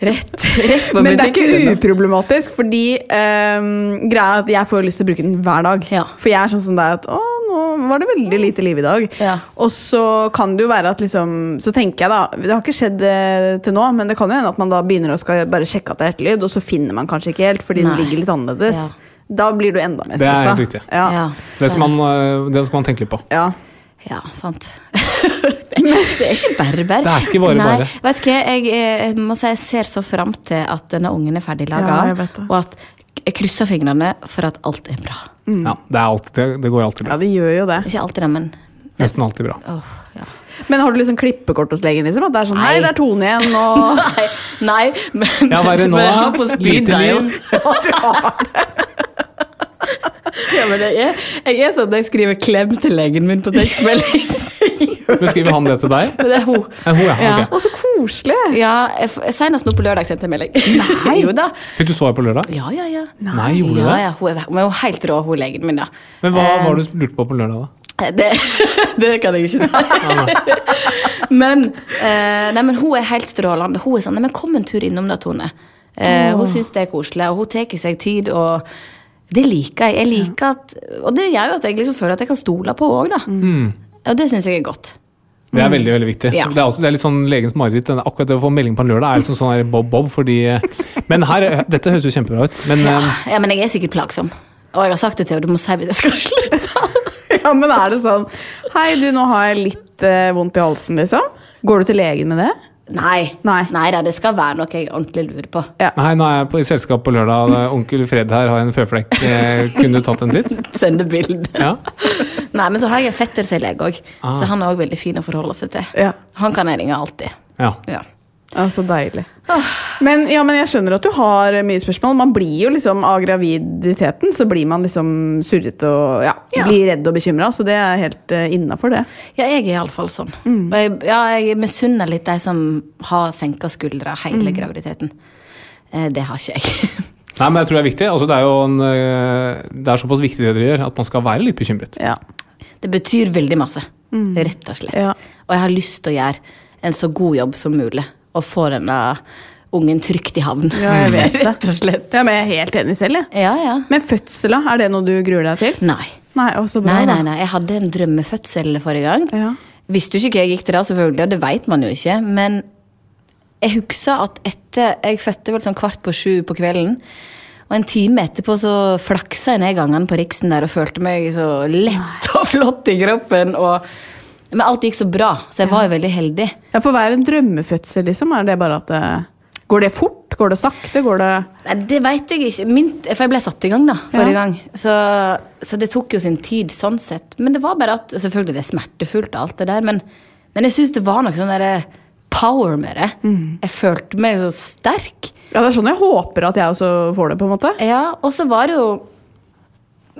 Speaker 7: Rett, rett på
Speaker 2: Men det er
Speaker 7: butikken.
Speaker 2: ikke uproblematisk, fordi ehm, greia er at jeg får lyst til å bruke den hver dag.
Speaker 7: Ja.
Speaker 2: For jeg er sånn som deg at å, nå var det veldig lite liv i dag.
Speaker 7: Ja.
Speaker 2: Og så kan det jo være at liksom Så tenker jeg da Det har ikke skjedd eh, til nå, men det kan jo hende at man da begynner å skal bare sjekke at det er hjertelyd, og så finner man kanskje ikke helt fordi
Speaker 7: Nei.
Speaker 2: den ligger litt annerledes.
Speaker 7: Ja.
Speaker 2: Da blir du enda mer
Speaker 3: Det er
Speaker 2: stressa.
Speaker 3: helt riktig.
Speaker 2: Ja.
Speaker 7: Ja.
Speaker 3: Det skal man, øh, det skal man tenke litt på.
Speaker 2: Ja.
Speaker 7: Ja, sant. det, det er ikke bare bare.
Speaker 3: Det er ikke bare
Speaker 7: Nei,
Speaker 3: bare.
Speaker 7: Vet du hva, jeg, eh, jeg må si jeg ser så fram til at denne ungen er ferdig laga,
Speaker 2: Ja, jeg vet det.
Speaker 7: og at jeg krysser fingrene for at alt er bra.
Speaker 3: Ja, det, er alltid, det, det går alltid bra.
Speaker 2: ja, det gjør jo det.
Speaker 7: Ikke alltid det, men
Speaker 3: Nesten alltid bra.
Speaker 7: åh, ja.
Speaker 2: Men har du liksom klippekort hos legen? liksom? At det er sånn Nei,
Speaker 7: Nei.
Speaker 2: det er Tone igjen, og
Speaker 7: Nei, nei men,
Speaker 3: Ja, verre nå.
Speaker 7: men jeg har på
Speaker 3: Lite
Speaker 7: speed dial.
Speaker 3: liv.
Speaker 2: at du har det.
Speaker 7: Ja, men jeg, er, jeg er sånn at jeg skriver 'klem' til legen min på tekstmelding.
Speaker 3: Beskriver han det til deg? Eh,
Speaker 7: Men det er hun.
Speaker 3: Ja, hun, ja. ok.
Speaker 2: Å, så koselig!
Speaker 7: Ja, jeg f- Senest nå på lørdag sendte jeg melding. Nei. jo da.
Speaker 3: Fikk du svar på lørdag?
Speaker 7: Ja, ja, ja.
Speaker 3: Nei, gjorde du
Speaker 7: ja,
Speaker 3: det?
Speaker 7: ja, hun er, hun er jo helt rå, hun legen min, da.
Speaker 3: Men
Speaker 7: Eh.
Speaker 3: hva var det du lurte på på lørdag, da?
Speaker 7: Det, det kan jeg ikke si. men, eh, nei, men hun er helt strålende. Hun er sånn, nei, men kom en tur innom da, Tone. Eh, hun syns det er koselig, og hun tar seg tid. og det liker jeg. jeg liker at, og det gjør jo at jeg liksom føler at jeg kan stole på henne òg, da.
Speaker 3: Mm.
Speaker 7: Og det syns jeg er godt.
Speaker 3: Det er veldig veldig viktig.
Speaker 7: Mm. Ja.
Speaker 3: Det, er også, det er litt sånn legens mareritt. denne- Akkurat det å få melding på en lørdag er liksom sånn her bob-bob, fordi eh, Men her, dette høres jo kjempebra ut. Men
Speaker 7: Ja.
Speaker 3: eh,
Speaker 7: ja, Men jeg er sikkert plagsom. Og jeg har sagt det til henne, du må si hvis jeg skal slutte.
Speaker 2: Ja, men er det sånn Hei, du, nå har jeg litt eh, vondt i halsen, liksom. Går du til legen med det?
Speaker 7: Nei.
Speaker 2: Nei.
Speaker 7: da, det skal være noe jeg ordentlig lurer på.
Speaker 3: hei, nå er jeg på, i selskap på lørdag. Det er Onkel Fred her har en føflekk. Eh, Kunne du tatt en titt?
Speaker 7: Sende bilde.
Speaker 3: Ja.
Speaker 7: Nei, men så har jeg en fetter som er lege òg, så han er òg veldig fin å forholde seg til.
Speaker 2: Ja.
Speaker 7: Han kan jeg ringe alltid.
Speaker 3: ja.
Speaker 7: Ja.
Speaker 2: Ja, Ah. så deilig. Men, ja, men jeg skjønner at du har eh, mye spørsmål. Man blir jo liksom Av graviditeten så blir man liksom surrete og ja,
Speaker 7: Ja.
Speaker 2: blir redd og bekymra, så det er helt uh, innafor, det.
Speaker 7: ja, jeg er iallfall sånn.
Speaker 2: Mm.
Speaker 7: Og jeg, ja, jeg misunner litt de som har senka skuldra hele
Speaker 2: Mm.
Speaker 7: graviditeten. Eh, det har ikke jeg.
Speaker 3: Nei, men jeg tror det er viktig. Altså, det, er jo en, eh, det er såpass viktig det dere gjør, at man skal være litt bekymret.
Speaker 2: Ja.
Speaker 7: det betyr veldig masse, rett og slett.
Speaker 2: Mm. Ja.
Speaker 7: Og jeg har lyst til å gjøre en så god jobb som mulig, og få denne ungen trygt i havn.
Speaker 2: ja, jeg vet det.
Speaker 7: rett og slett.
Speaker 2: Ja, men jeg er helt enig selv, jeg.
Speaker 7: Ja, ja.
Speaker 2: Men fødsela, er det noe du gruer deg til?
Speaker 7: Nei.
Speaker 2: Nei, å, så bra.
Speaker 7: Nei,
Speaker 2: da.
Speaker 7: nei, nei, jeg hadde en drømmefødsel forrige gang.
Speaker 2: Ja.
Speaker 7: Visste jo ikke hva jeg gikk til da, selvfølgelig, og det vet man jo ikke. Men jeg husker at etter Jeg fødte vel sånn kvart på sju på kvelden. Og en time etterpå så flaksa jeg ned gangene på Riksen der og følte meg så lett og flott i kroppen. Og, men alt gikk så bra, så jeg var jo veldig heldig.
Speaker 2: Ja, For hva er en drømmefødsel, liksom? Er det bare at eh, Går det fort? Går det sakte? Går det
Speaker 7: Nei, Det veit jeg ikke. Min, for jeg ble satt i gang da, forrige
Speaker 2: Ja.
Speaker 7: gang. Så, så det tok jo sin tid sånn sett. Men det var bare at Selvfølgelig det er smertefullt, og alt det der, men, men jeg syns det var noe sånn derre power med det.
Speaker 2: Mm.
Speaker 7: Jeg følte meg så sterk.
Speaker 2: Ja, det er sånn jeg håper at jeg også får det, på en måte.
Speaker 7: Ja, og så var det jo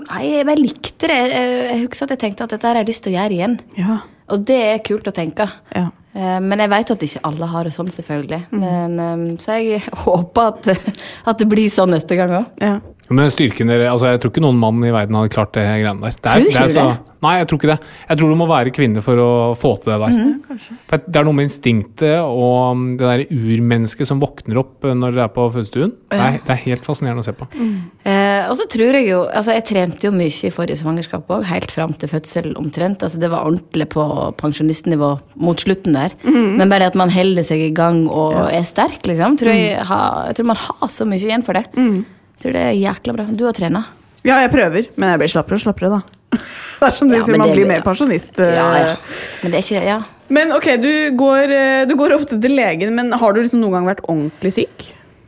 Speaker 7: Nei, jeg bare likte det. Jeg, jeg, jeg husker at jeg tenkte at dette her har jeg lyst til å gjøre igjen.
Speaker 2: Ja.
Speaker 7: Og det er kult å tenke.
Speaker 2: Ja. Mm.
Speaker 7: Eh, Men jeg vet jo at ikke alle har det ehm, sånn, selvfølgelig. Men, eh, så jeg håper at, at det blir sånn neste gang òg.
Speaker 2: ja.
Speaker 3: Men styrken dere, altså jeg tror ikke noen mann i verden hadde klart det greiene der. Det
Speaker 7: Tror ikke du det?
Speaker 3: nei, jeg tror ikke det. Jeg tror du må være kvinne for å få til det der.
Speaker 7: Mhm,
Speaker 3: for det er noe med instinktet og mm, det der urmennesket som våkner opp eh, når dere er på fødestuen. Det er, det er helt fascinerende å se på.
Speaker 7: Eh, og så tror jeg jo Altså, jeg trente jo mye i forrige svangerskap òg, helt fram til fødsel omtrent. Altså, det var ordentlig på pensjonistnivå mot slutten der. Men bare det at man holder seg i gang og er sterk, liksom, tror jeg, har- jeg tror man har så mye igjen for det. Jeg tror det er jækla bra. Du har trena.
Speaker 2: Ja, jeg prøver, men jeg blir slappere og slappere, da. Det er som du
Speaker 7: Ja,
Speaker 2: sier,
Speaker 7: men
Speaker 2: man
Speaker 7: det-
Speaker 2: blir mer pensjonist. eh.
Speaker 7: Ja, ja. Men det er ikke Ja.
Speaker 2: Men ok, du går, eh, du går ofte til legen, men har du liksom noen gang vært ordentlig syk?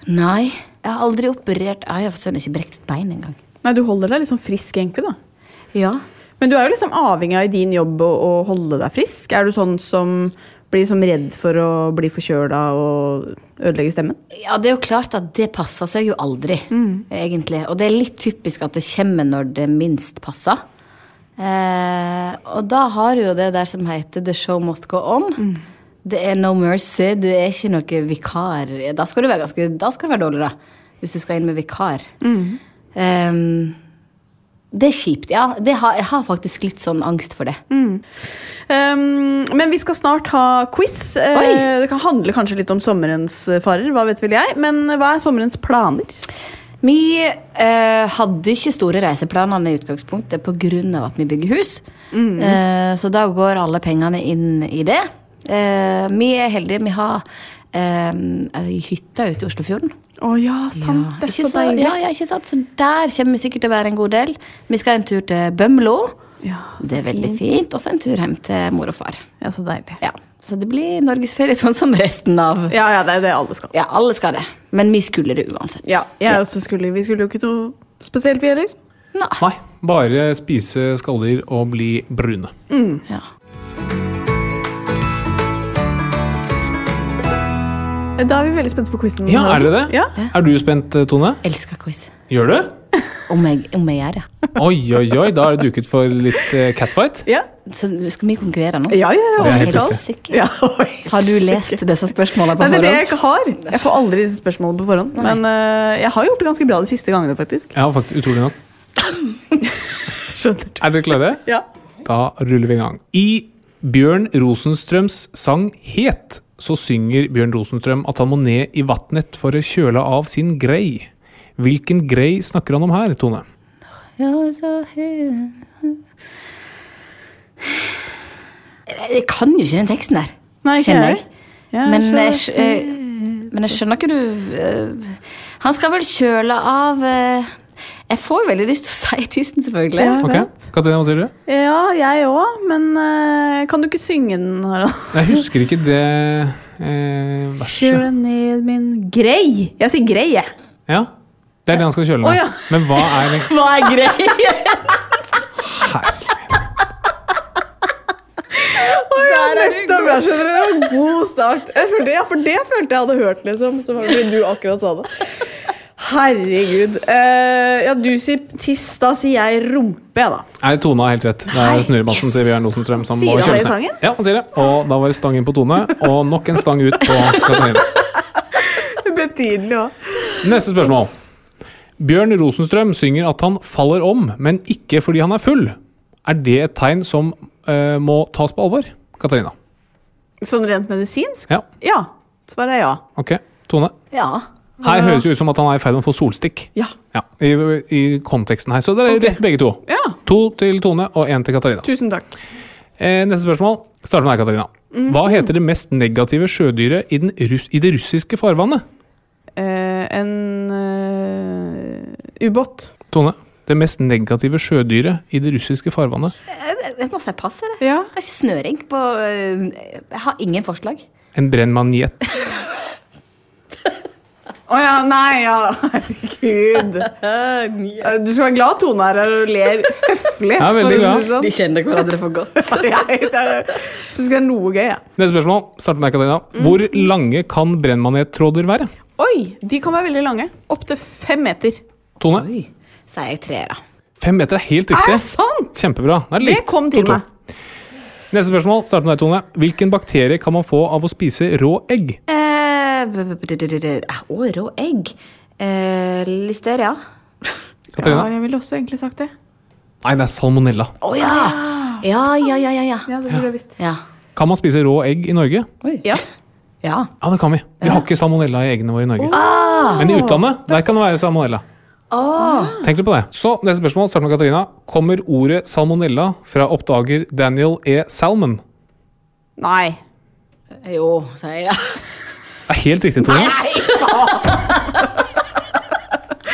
Speaker 7: Nei. Jeg har aldri operert Nei, Jeg har for søren ikke brekt et bein engang.
Speaker 2: Nei, du holder deg liksom frisk egentlig, da.
Speaker 7: Ja.
Speaker 2: Men du er jo liksom avhengig av i din jobb å, å holde deg frisk. Er du sånn som blir som redd for å bli forkjøla og ødelegge stemmen?
Speaker 7: Ja, det er jo klart at det passer seg jo aldri, egentlig. Og det er litt typisk at det kommer når det minst passer. Eh, og da har du jo det der som heter 'the show must go on'. Det er no mercy, du er ikke noe vikar. Da skal du være, ganske, da skal du være dårlig, da. Hvis du skal inn med vikar. Eh, det er kjipt. Ja, det har, jeg har faktisk litt sånn angst for det.
Speaker 2: Um, men vi skal snart ha quiz. Eh,
Speaker 7: Oi.
Speaker 2: Det kan handle kanskje litt om sommerens eh, farer, hva vet vel jeg. Men eh, hva er sommerens planer?
Speaker 7: Vi eh, hadde ikke store reiseplaner i utgangspunktet pga. at vi bygger hus.
Speaker 2: Mm.
Speaker 7: Eh, så da går alle pengene inn i det. Eh, vi er heldige. Vi har eh, ei hytte ute i Oslofjorden.
Speaker 2: Å ja, sant. det er
Speaker 7: ikke
Speaker 2: så deilig.
Speaker 7: Ja, ja, ikke sant? Så der kommer vi sikkert til å være en god del. Vi skal en tur til Bømlo.
Speaker 2: Ja, Ah, så
Speaker 7: det er veldig fint. Og så en tur hjem til mor og far.
Speaker 2: Ja, så deilig.
Speaker 7: Ja, Så det blir norgesferie sånn som resten av
Speaker 2: Ja, ja, det er jo det alle skal.
Speaker 7: Ja, alle skal det. Men vi skulle det uansett.
Speaker 2: Ja, jeg også skulle, vi skulle jo ikke noe spesielt, vi heller.
Speaker 7: Nei.
Speaker 3: Nei, bare spise skalldyr og bli brune.
Speaker 7: Ja.
Speaker 2: Eh, Da er vi veldig spente på quizen.
Speaker 3: Ja, er dere det?
Speaker 2: Ja.
Speaker 3: Er du spent, uh, Tone?
Speaker 7: Elsker quiz.
Speaker 3: Gjør du?
Speaker 7: Om jeg, om jeg gjør det.
Speaker 3: Oi, oi, oi, da er det duket for litt eh, catfight.
Speaker 2: Ja,
Speaker 7: Så skal vi konkurrere nå?
Speaker 2: ja, ja, ja,
Speaker 3: Det er
Speaker 2: vi
Speaker 3: helt
Speaker 2: skal.
Speaker 7: sikkert.
Speaker 2: Ja, oi.
Speaker 7: Har du lest disse spørsmålene på
Speaker 2: Nei, det er det jeg
Speaker 7: forhånd?
Speaker 2: ikke har. Jeg får aldri disse spørsmålene på forhånd. Men eh, jeg har gjort det ganske bra de siste gangene, faktisk.
Speaker 3: Ja, faktisk, utrolig nok.
Speaker 2: Skjønner du?
Speaker 3: Er dere klare?
Speaker 2: Ja.
Speaker 3: Da ruller vi i gang. I Bjørn Rosenstrøms sang Het så synger Bjørn Rosenstrøm at han må ned i vatnet for å kjøle av sin grei. Hvilken grei snakker han om her, Tone?
Speaker 7: Ja, altså, eh. så he- Jeg kan jo ikke den teksten der,
Speaker 2: Nei, ikke
Speaker 7: kjenner jeg.
Speaker 2: jeg. Ja,
Speaker 7: Men
Speaker 2: så-
Speaker 7: jeg, skj- eh, men jeg skjønner ikke du eh, Han skal vel kjøle av eh, Jeg får jo veldig lyst til å si tissen, selvfølgelig.
Speaker 2: Ja. Jeg
Speaker 3: Ok,
Speaker 2: vet.
Speaker 3: Katrine, hva sier du?
Speaker 2: ja, jeg òg, men eh, kan du ikke synge den, Harald?
Speaker 3: Jeg husker ikke det eh, verset.
Speaker 2: Kjør ned min grei. Jeg sier grei, jeg.
Speaker 3: Ja, det er det han skal
Speaker 2: Å,
Speaker 3: kjøle med.
Speaker 2: ja.
Speaker 3: Men hva er det?
Speaker 2: Hva er grei?
Speaker 7: Der er du
Speaker 2: Nettopp, jeg skjønner det. det var en god start. Jeg følte, ja, for det følte jeg hadde hørt, liksom. Så var det fordi du akkurat sa det. Herregud. Eh, ja, du sier tiss, da sier jeg rumpe, jeg, da.
Speaker 3: Nei, Tone har helt rett. Det er snurrebassen til Bjørn Rosenstrøm som
Speaker 2: Sier
Speaker 3: må
Speaker 2: han
Speaker 3: kjøle
Speaker 2: det i
Speaker 3: seg.
Speaker 2: sangen?
Speaker 3: Ja, han sier det. Og da var det stang inn på Tone, og nok en stang ut på Katrine.
Speaker 2: Betydelig òg.
Speaker 3: Neste spørsmål. Bjørn Rosenstrøm synger at han faller om, men ikke fordi han er full. Er det et tegn som eh, må tas på alvor? Katarina.
Speaker 2: Sånn rent medisinsk?
Speaker 3: Ja,
Speaker 2: Ja. Svaret er ja.
Speaker 3: ok. Tone.
Speaker 7: Ja.
Speaker 3: Her høres det ut som at han er i ferd med å få solstikk.
Speaker 2: Ja.
Speaker 3: Ja, i, I konteksten her. Så dere er rett begge to.
Speaker 2: Ja.
Speaker 3: To til Tone og én til Katarina.
Speaker 2: Tusen takk.
Speaker 3: Eh, neste spørsmål starter med deg, Katarina. Hva heter det mest negative sjødyret i, den russ, i det russiske farvannet?
Speaker 2: Eh, en eh, ubåt.
Speaker 3: Tone. Det mest negative sjødyret i det russiske farvannet.
Speaker 7: Jeg, jeg må si pass, eller?
Speaker 2: Ja.
Speaker 7: Jeg har ikke snøring på eh, Jeg har ingen forslag.
Speaker 3: En brennmanjet.
Speaker 2: Å ja, nei, ja. Herregud. Eh, Du skal være glad Tone er her og ler høflig.
Speaker 3: Ja,
Speaker 2: for å
Speaker 3: veldig
Speaker 2: si det
Speaker 3: glad.
Speaker 2: sånn.
Speaker 7: kjenner hverandre for godt.
Speaker 2: Jeg syns det er noe gøy, jeg.
Speaker 3: Neste spørsmål. Start med deg, Katarina. Hvor
Speaker 2: Mhm.
Speaker 3: lange kan brennmanettråder være?
Speaker 2: Oi, de kan være veldig lange. Opptil fem meter.
Speaker 3: Tone?
Speaker 7: Oi, så er jeg treer, da.
Speaker 3: Fem meter er helt
Speaker 2: Er
Speaker 3: riktig.
Speaker 2: det sant?!
Speaker 3: Kjempebra. Det, er
Speaker 2: Det
Speaker 3: likt.
Speaker 2: kom til
Speaker 3: To-to.
Speaker 2: meg.
Speaker 3: Neste spørsmål. Start med deg, Tone. Hvilken bakterie kan man få av å spise rå egg?
Speaker 7: Eh, b- b- b- d- d- d- d- Å, rå egg. Eh, Listeria.
Speaker 2: Ja,
Speaker 3: Katarina?
Speaker 2: jeg ville også egentlig sagt det.
Speaker 3: Nei, det er salmonella.
Speaker 7: Å ja. Ah. Ja, ja, ja, ja, ja.
Speaker 2: Ja, det burde jeg visst.
Speaker 7: Ja.
Speaker 3: Kan man spise rå egg i Norge?
Speaker 2: Ja.
Speaker 7: ja. Ah.
Speaker 3: Ja, det kan vi. Vi har ikke salmonella i eggene våre i Norge. Men i utlandet, der kan det være salmonella. Tenk litt på det. Så, neste spørsmål, start med Katarina. Kommer ordet salmonella fra oppdager Daniel E. Salmon?
Speaker 2: Nei.
Speaker 7: Jo, sier jeg.
Speaker 3: Det er helt riktig, Tone.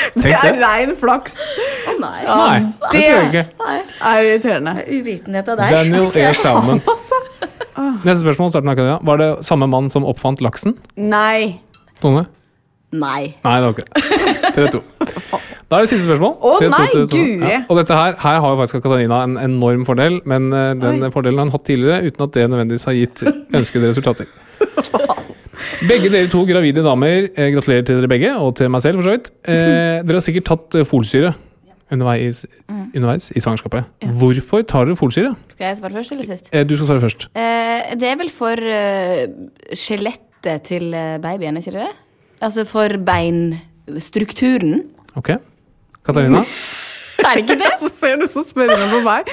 Speaker 2: Det
Speaker 3: Tenk
Speaker 2: er
Speaker 3: det.
Speaker 2: rein flaks.
Speaker 7: Å nei.
Speaker 3: Nei, det tror jeg ikke.
Speaker 2: Er irriterende.
Speaker 7: Uvitenhet av deg.
Speaker 3: Daniel E. Salmon.
Speaker 2: altså.
Speaker 3: Neste spørsmål, start med Katarina. Var det samme mann som oppfant laksen?
Speaker 2: Nei.
Speaker 3: Tone?
Speaker 7: Nei.
Speaker 3: Nei, det var ikke det. Dere to. Da er det siste spørsmål.
Speaker 2: Å
Speaker 3: Tre, to,
Speaker 2: nei,
Speaker 3: tre, to.
Speaker 2: guri.
Speaker 3: Og dette her, her har jo faktisk Katarina en enorm fordel, men eh, den
Speaker 2: Oi.
Speaker 3: fordelen har hun hatt tidligere uten at det nødvendigvis har gitt ønskede resultater. Begge dere to gravide damer, eh, gratulerer til dere begge, og til meg selv for så vidt. Eh, dere har sikkert tatt eh, folsyre underveis,
Speaker 2: Mm.
Speaker 3: underveis i svangerskapet. Hvorfor tar dere folsyre?
Speaker 7: Skal jeg svare først eller sist?
Speaker 3: Eh, du skal svare først.
Speaker 7: Eh, det er vel for eh, skjelettet til eh, babyen, er ikke det? Altså for beinstrukturen.
Speaker 3: Ok. Katarina?
Speaker 7: Er det ikke det?
Speaker 2: Så ser du så spørrende på meg.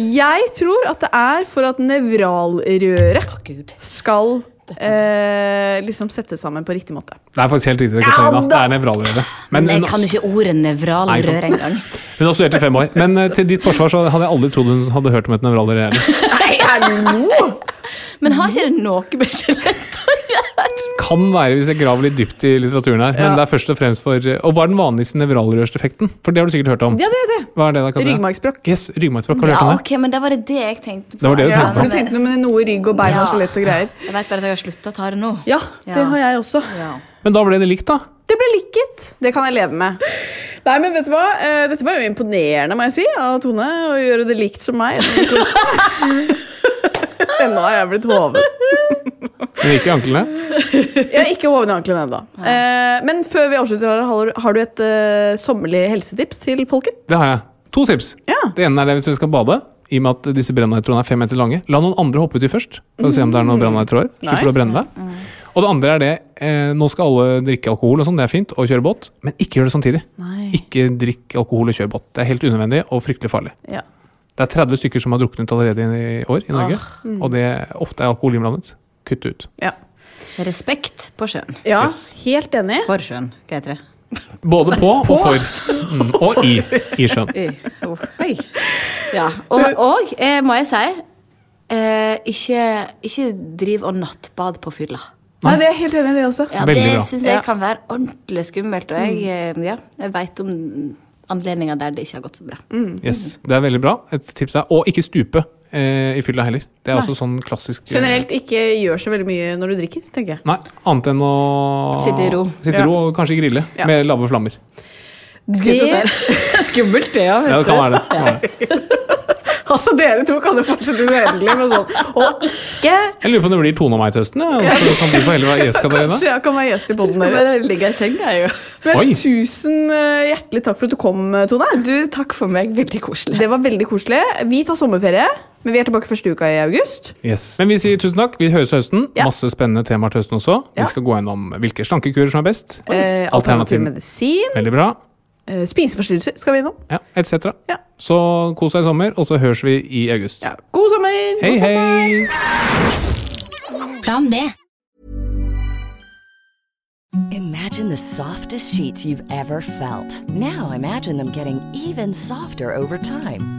Speaker 2: Jeg tror at det er for at nevralrøret
Speaker 7: Gud.
Speaker 2: skal eh, liksom settes sammen på riktig måte.
Speaker 3: Det er faktisk helt riktig, Katarina. Det er nevralrøret. Men
Speaker 7: Men jeg
Speaker 3: hun-
Speaker 7: kan jo ikke ordet
Speaker 3: Nei, sant.
Speaker 7: nevralrør engang.
Speaker 3: Hun har studert i fem år, men eh, til ditt forsvar så hadde jeg aldri trodd hun hadde hørt om et nevralrør. heller.
Speaker 2: Nei, hallo!
Speaker 7: Men har ikke det noe med skjelett?
Speaker 3: Kan være hvis jeg graver litt dypt i litteraturen her, men det er først og fremst for eh, Og hva er den vanligste nevralrørseffekten? For det har du sikkert hørt om.
Speaker 2: Ja, det vet jeg.
Speaker 3: Hva er det da, Katrine?
Speaker 2: Ryggmargsbrokk.
Speaker 3: Yes, ryggmargsbrokk. Har du
Speaker 7: Ja,
Speaker 3: hørt om det?
Speaker 7: ok, men da var det det jeg tenkte på.
Speaker 3: Det var det du
Speaker 2: Ja,
Speaker 3: tenkte
Speaker 2: for
Speaker 3: på.
Speaker 2: du tenkte noe med noe rygg og bein og
Speaker 7: Ja.
Speaker 2: skjelett og greier.
Speaker 7: Jeg vet bare at jeg har slutta å ta det nå.
Speaker 2: Ja, det
Speaker 7: Ja.
Speaker 2: har jeg også.
Speaker 7: Ja.
Speaker 3: Men da ble det likt, da.
Speaker 2: Det ble likket. Det kan jeg leve med. Nei, men vet du hva? Eh, Dette var jo imponerende, må jeg si, av Tone. Å gjøre det likt som meg. Ennå har jeg blitt hoven.
Speaker 3: Men ikke i anklene.
Speaker 2: Jeg er ikke hoven i ankelen ennå. Eh, Men før vi avslutter, Lara, har du- har du et eh, sommerlig helsetips til folket?
Speaker 3: Det har jeg. To tips.
Speaker 2: Ja.
Speaker 3: Det ene er det hvis dere skal bade. I og med at disse brennheitrådene er fem meter lange. La noen andre hoppe uti først. For å se om det er noen brennheittråder.
Speaker 2: Mm. Nice.
Speaker 3: Slipper du å
Speaker 2: Mm.
Speaker 3: brenne deg. Og det andre er det eh, Nå skal alle drikke alkohol, og sånn, det er fint, og kjøre båt, men ikke gjør det samtidig.
Speaker 2: Nei.
Speaker 3: Ikke drikk alkohol og kjør båt. Det er helt unødvendig og fryktelig farlig.
Speaker 2: Ja.
Speaker 3: Det er 30 stykker som har druknet allerede i år i Norge, og det ofte er alkohol innblandet. Kutt ut.
Speaker 2: Ja,
Speaker 7: Respekt på sjøen.
Speaker 2: ja
Speaker 3: Yes.
Speaker 2: helt enig.
Speaker 7: For sjøen, hva heter det?
Speaker 3: Både på, og for. Mm, og i. I sjøen.
Speaker 7: Oh, oi. Ja. Og, og eh, må jeg si eh, ikke, ikke driv og nattbad på fylla.
Speaker 2: Nei, det er jeg helt enig i det også.
Speaker 7: Ja,
Speaker 3: Veldig bra.
Speaker 7: det syns jeg
Speaker 2: Ja.
Speaker 7: kan være ordentlig skummelt. Og jeg, eh, ja, jeg veit om anledninger der det ikke har gått så bra.
Speaker 3: Yes, det er veldig bra. Et tips er å ikke stupe eh, i fylla heller. Det er også sånn klassisk eh,
Speaker 2: Generelt ikke gjør så veldig mye når du drikker, tenker jeg.
Speaker 3: Nei, annet enn å
Speaker 7: Sitte i ro.
Speaker 3: Sitte i ro og kanskje grille
Speaker 2: Ja.
Speaker 3: med lave flammer.
Speaker 2: Det-
Speaker 7: Skummelt, det, ja.
Speaker 3: Ja, det kan være det. Kan være det.
Speaker 2: Altså, dere to kan jo fortsette uendelig med sånn. Og ikke
Speaker 3: Jeg lurer på om det blir Tone og meg til høsten. Ja. Så kan du få heller være gjest, Katarina.
Speaker 2: Kanskje jeg kan være gjest i poden deres.
Speaker 7: ligge i senga, jo.
Speaker 2: Men
Speaker 3: Oi.
Speaker 2: tusen eh, hjertelig takk for at du kom, eh, Tone.
Speaker 7: Du, takk for meg. Veldig koselig.
Speaker 2: Det var veldig koselig. Vi tar sommerferie, men vi er tilbake første uka i august.
Speaker 3: Yes. Men vi sier tusen takk. Vi høres til høsten.
Speaker 2: Ja.
Speaker 3: Masse spennende temaer til høsten også.
Speaker 2: Ja.
Speaker 3: Vi skal gå gjennom hvilke slankekurer som er best.
Speaker 2: Eh, alternativ medisin,
Speaker 3: Veldig bra.
Speaker 2: eh, spiseforstyrrelser skal vi innom.
Speaker 3: Ja, etc.
Speaker 2: Ja.
Speaker 3: Så kos deg i sommer, og så høres vi i august.
Speaker 2: Ja. God sommer!
Speaker 3: Hei,
Speaker 2: God sommer!
Speaker 3: hei!
Speaker 8: Plan B.
Speaker 9: Imagine the softest sheets you've ever felt. Now imagine them getting even softer over time.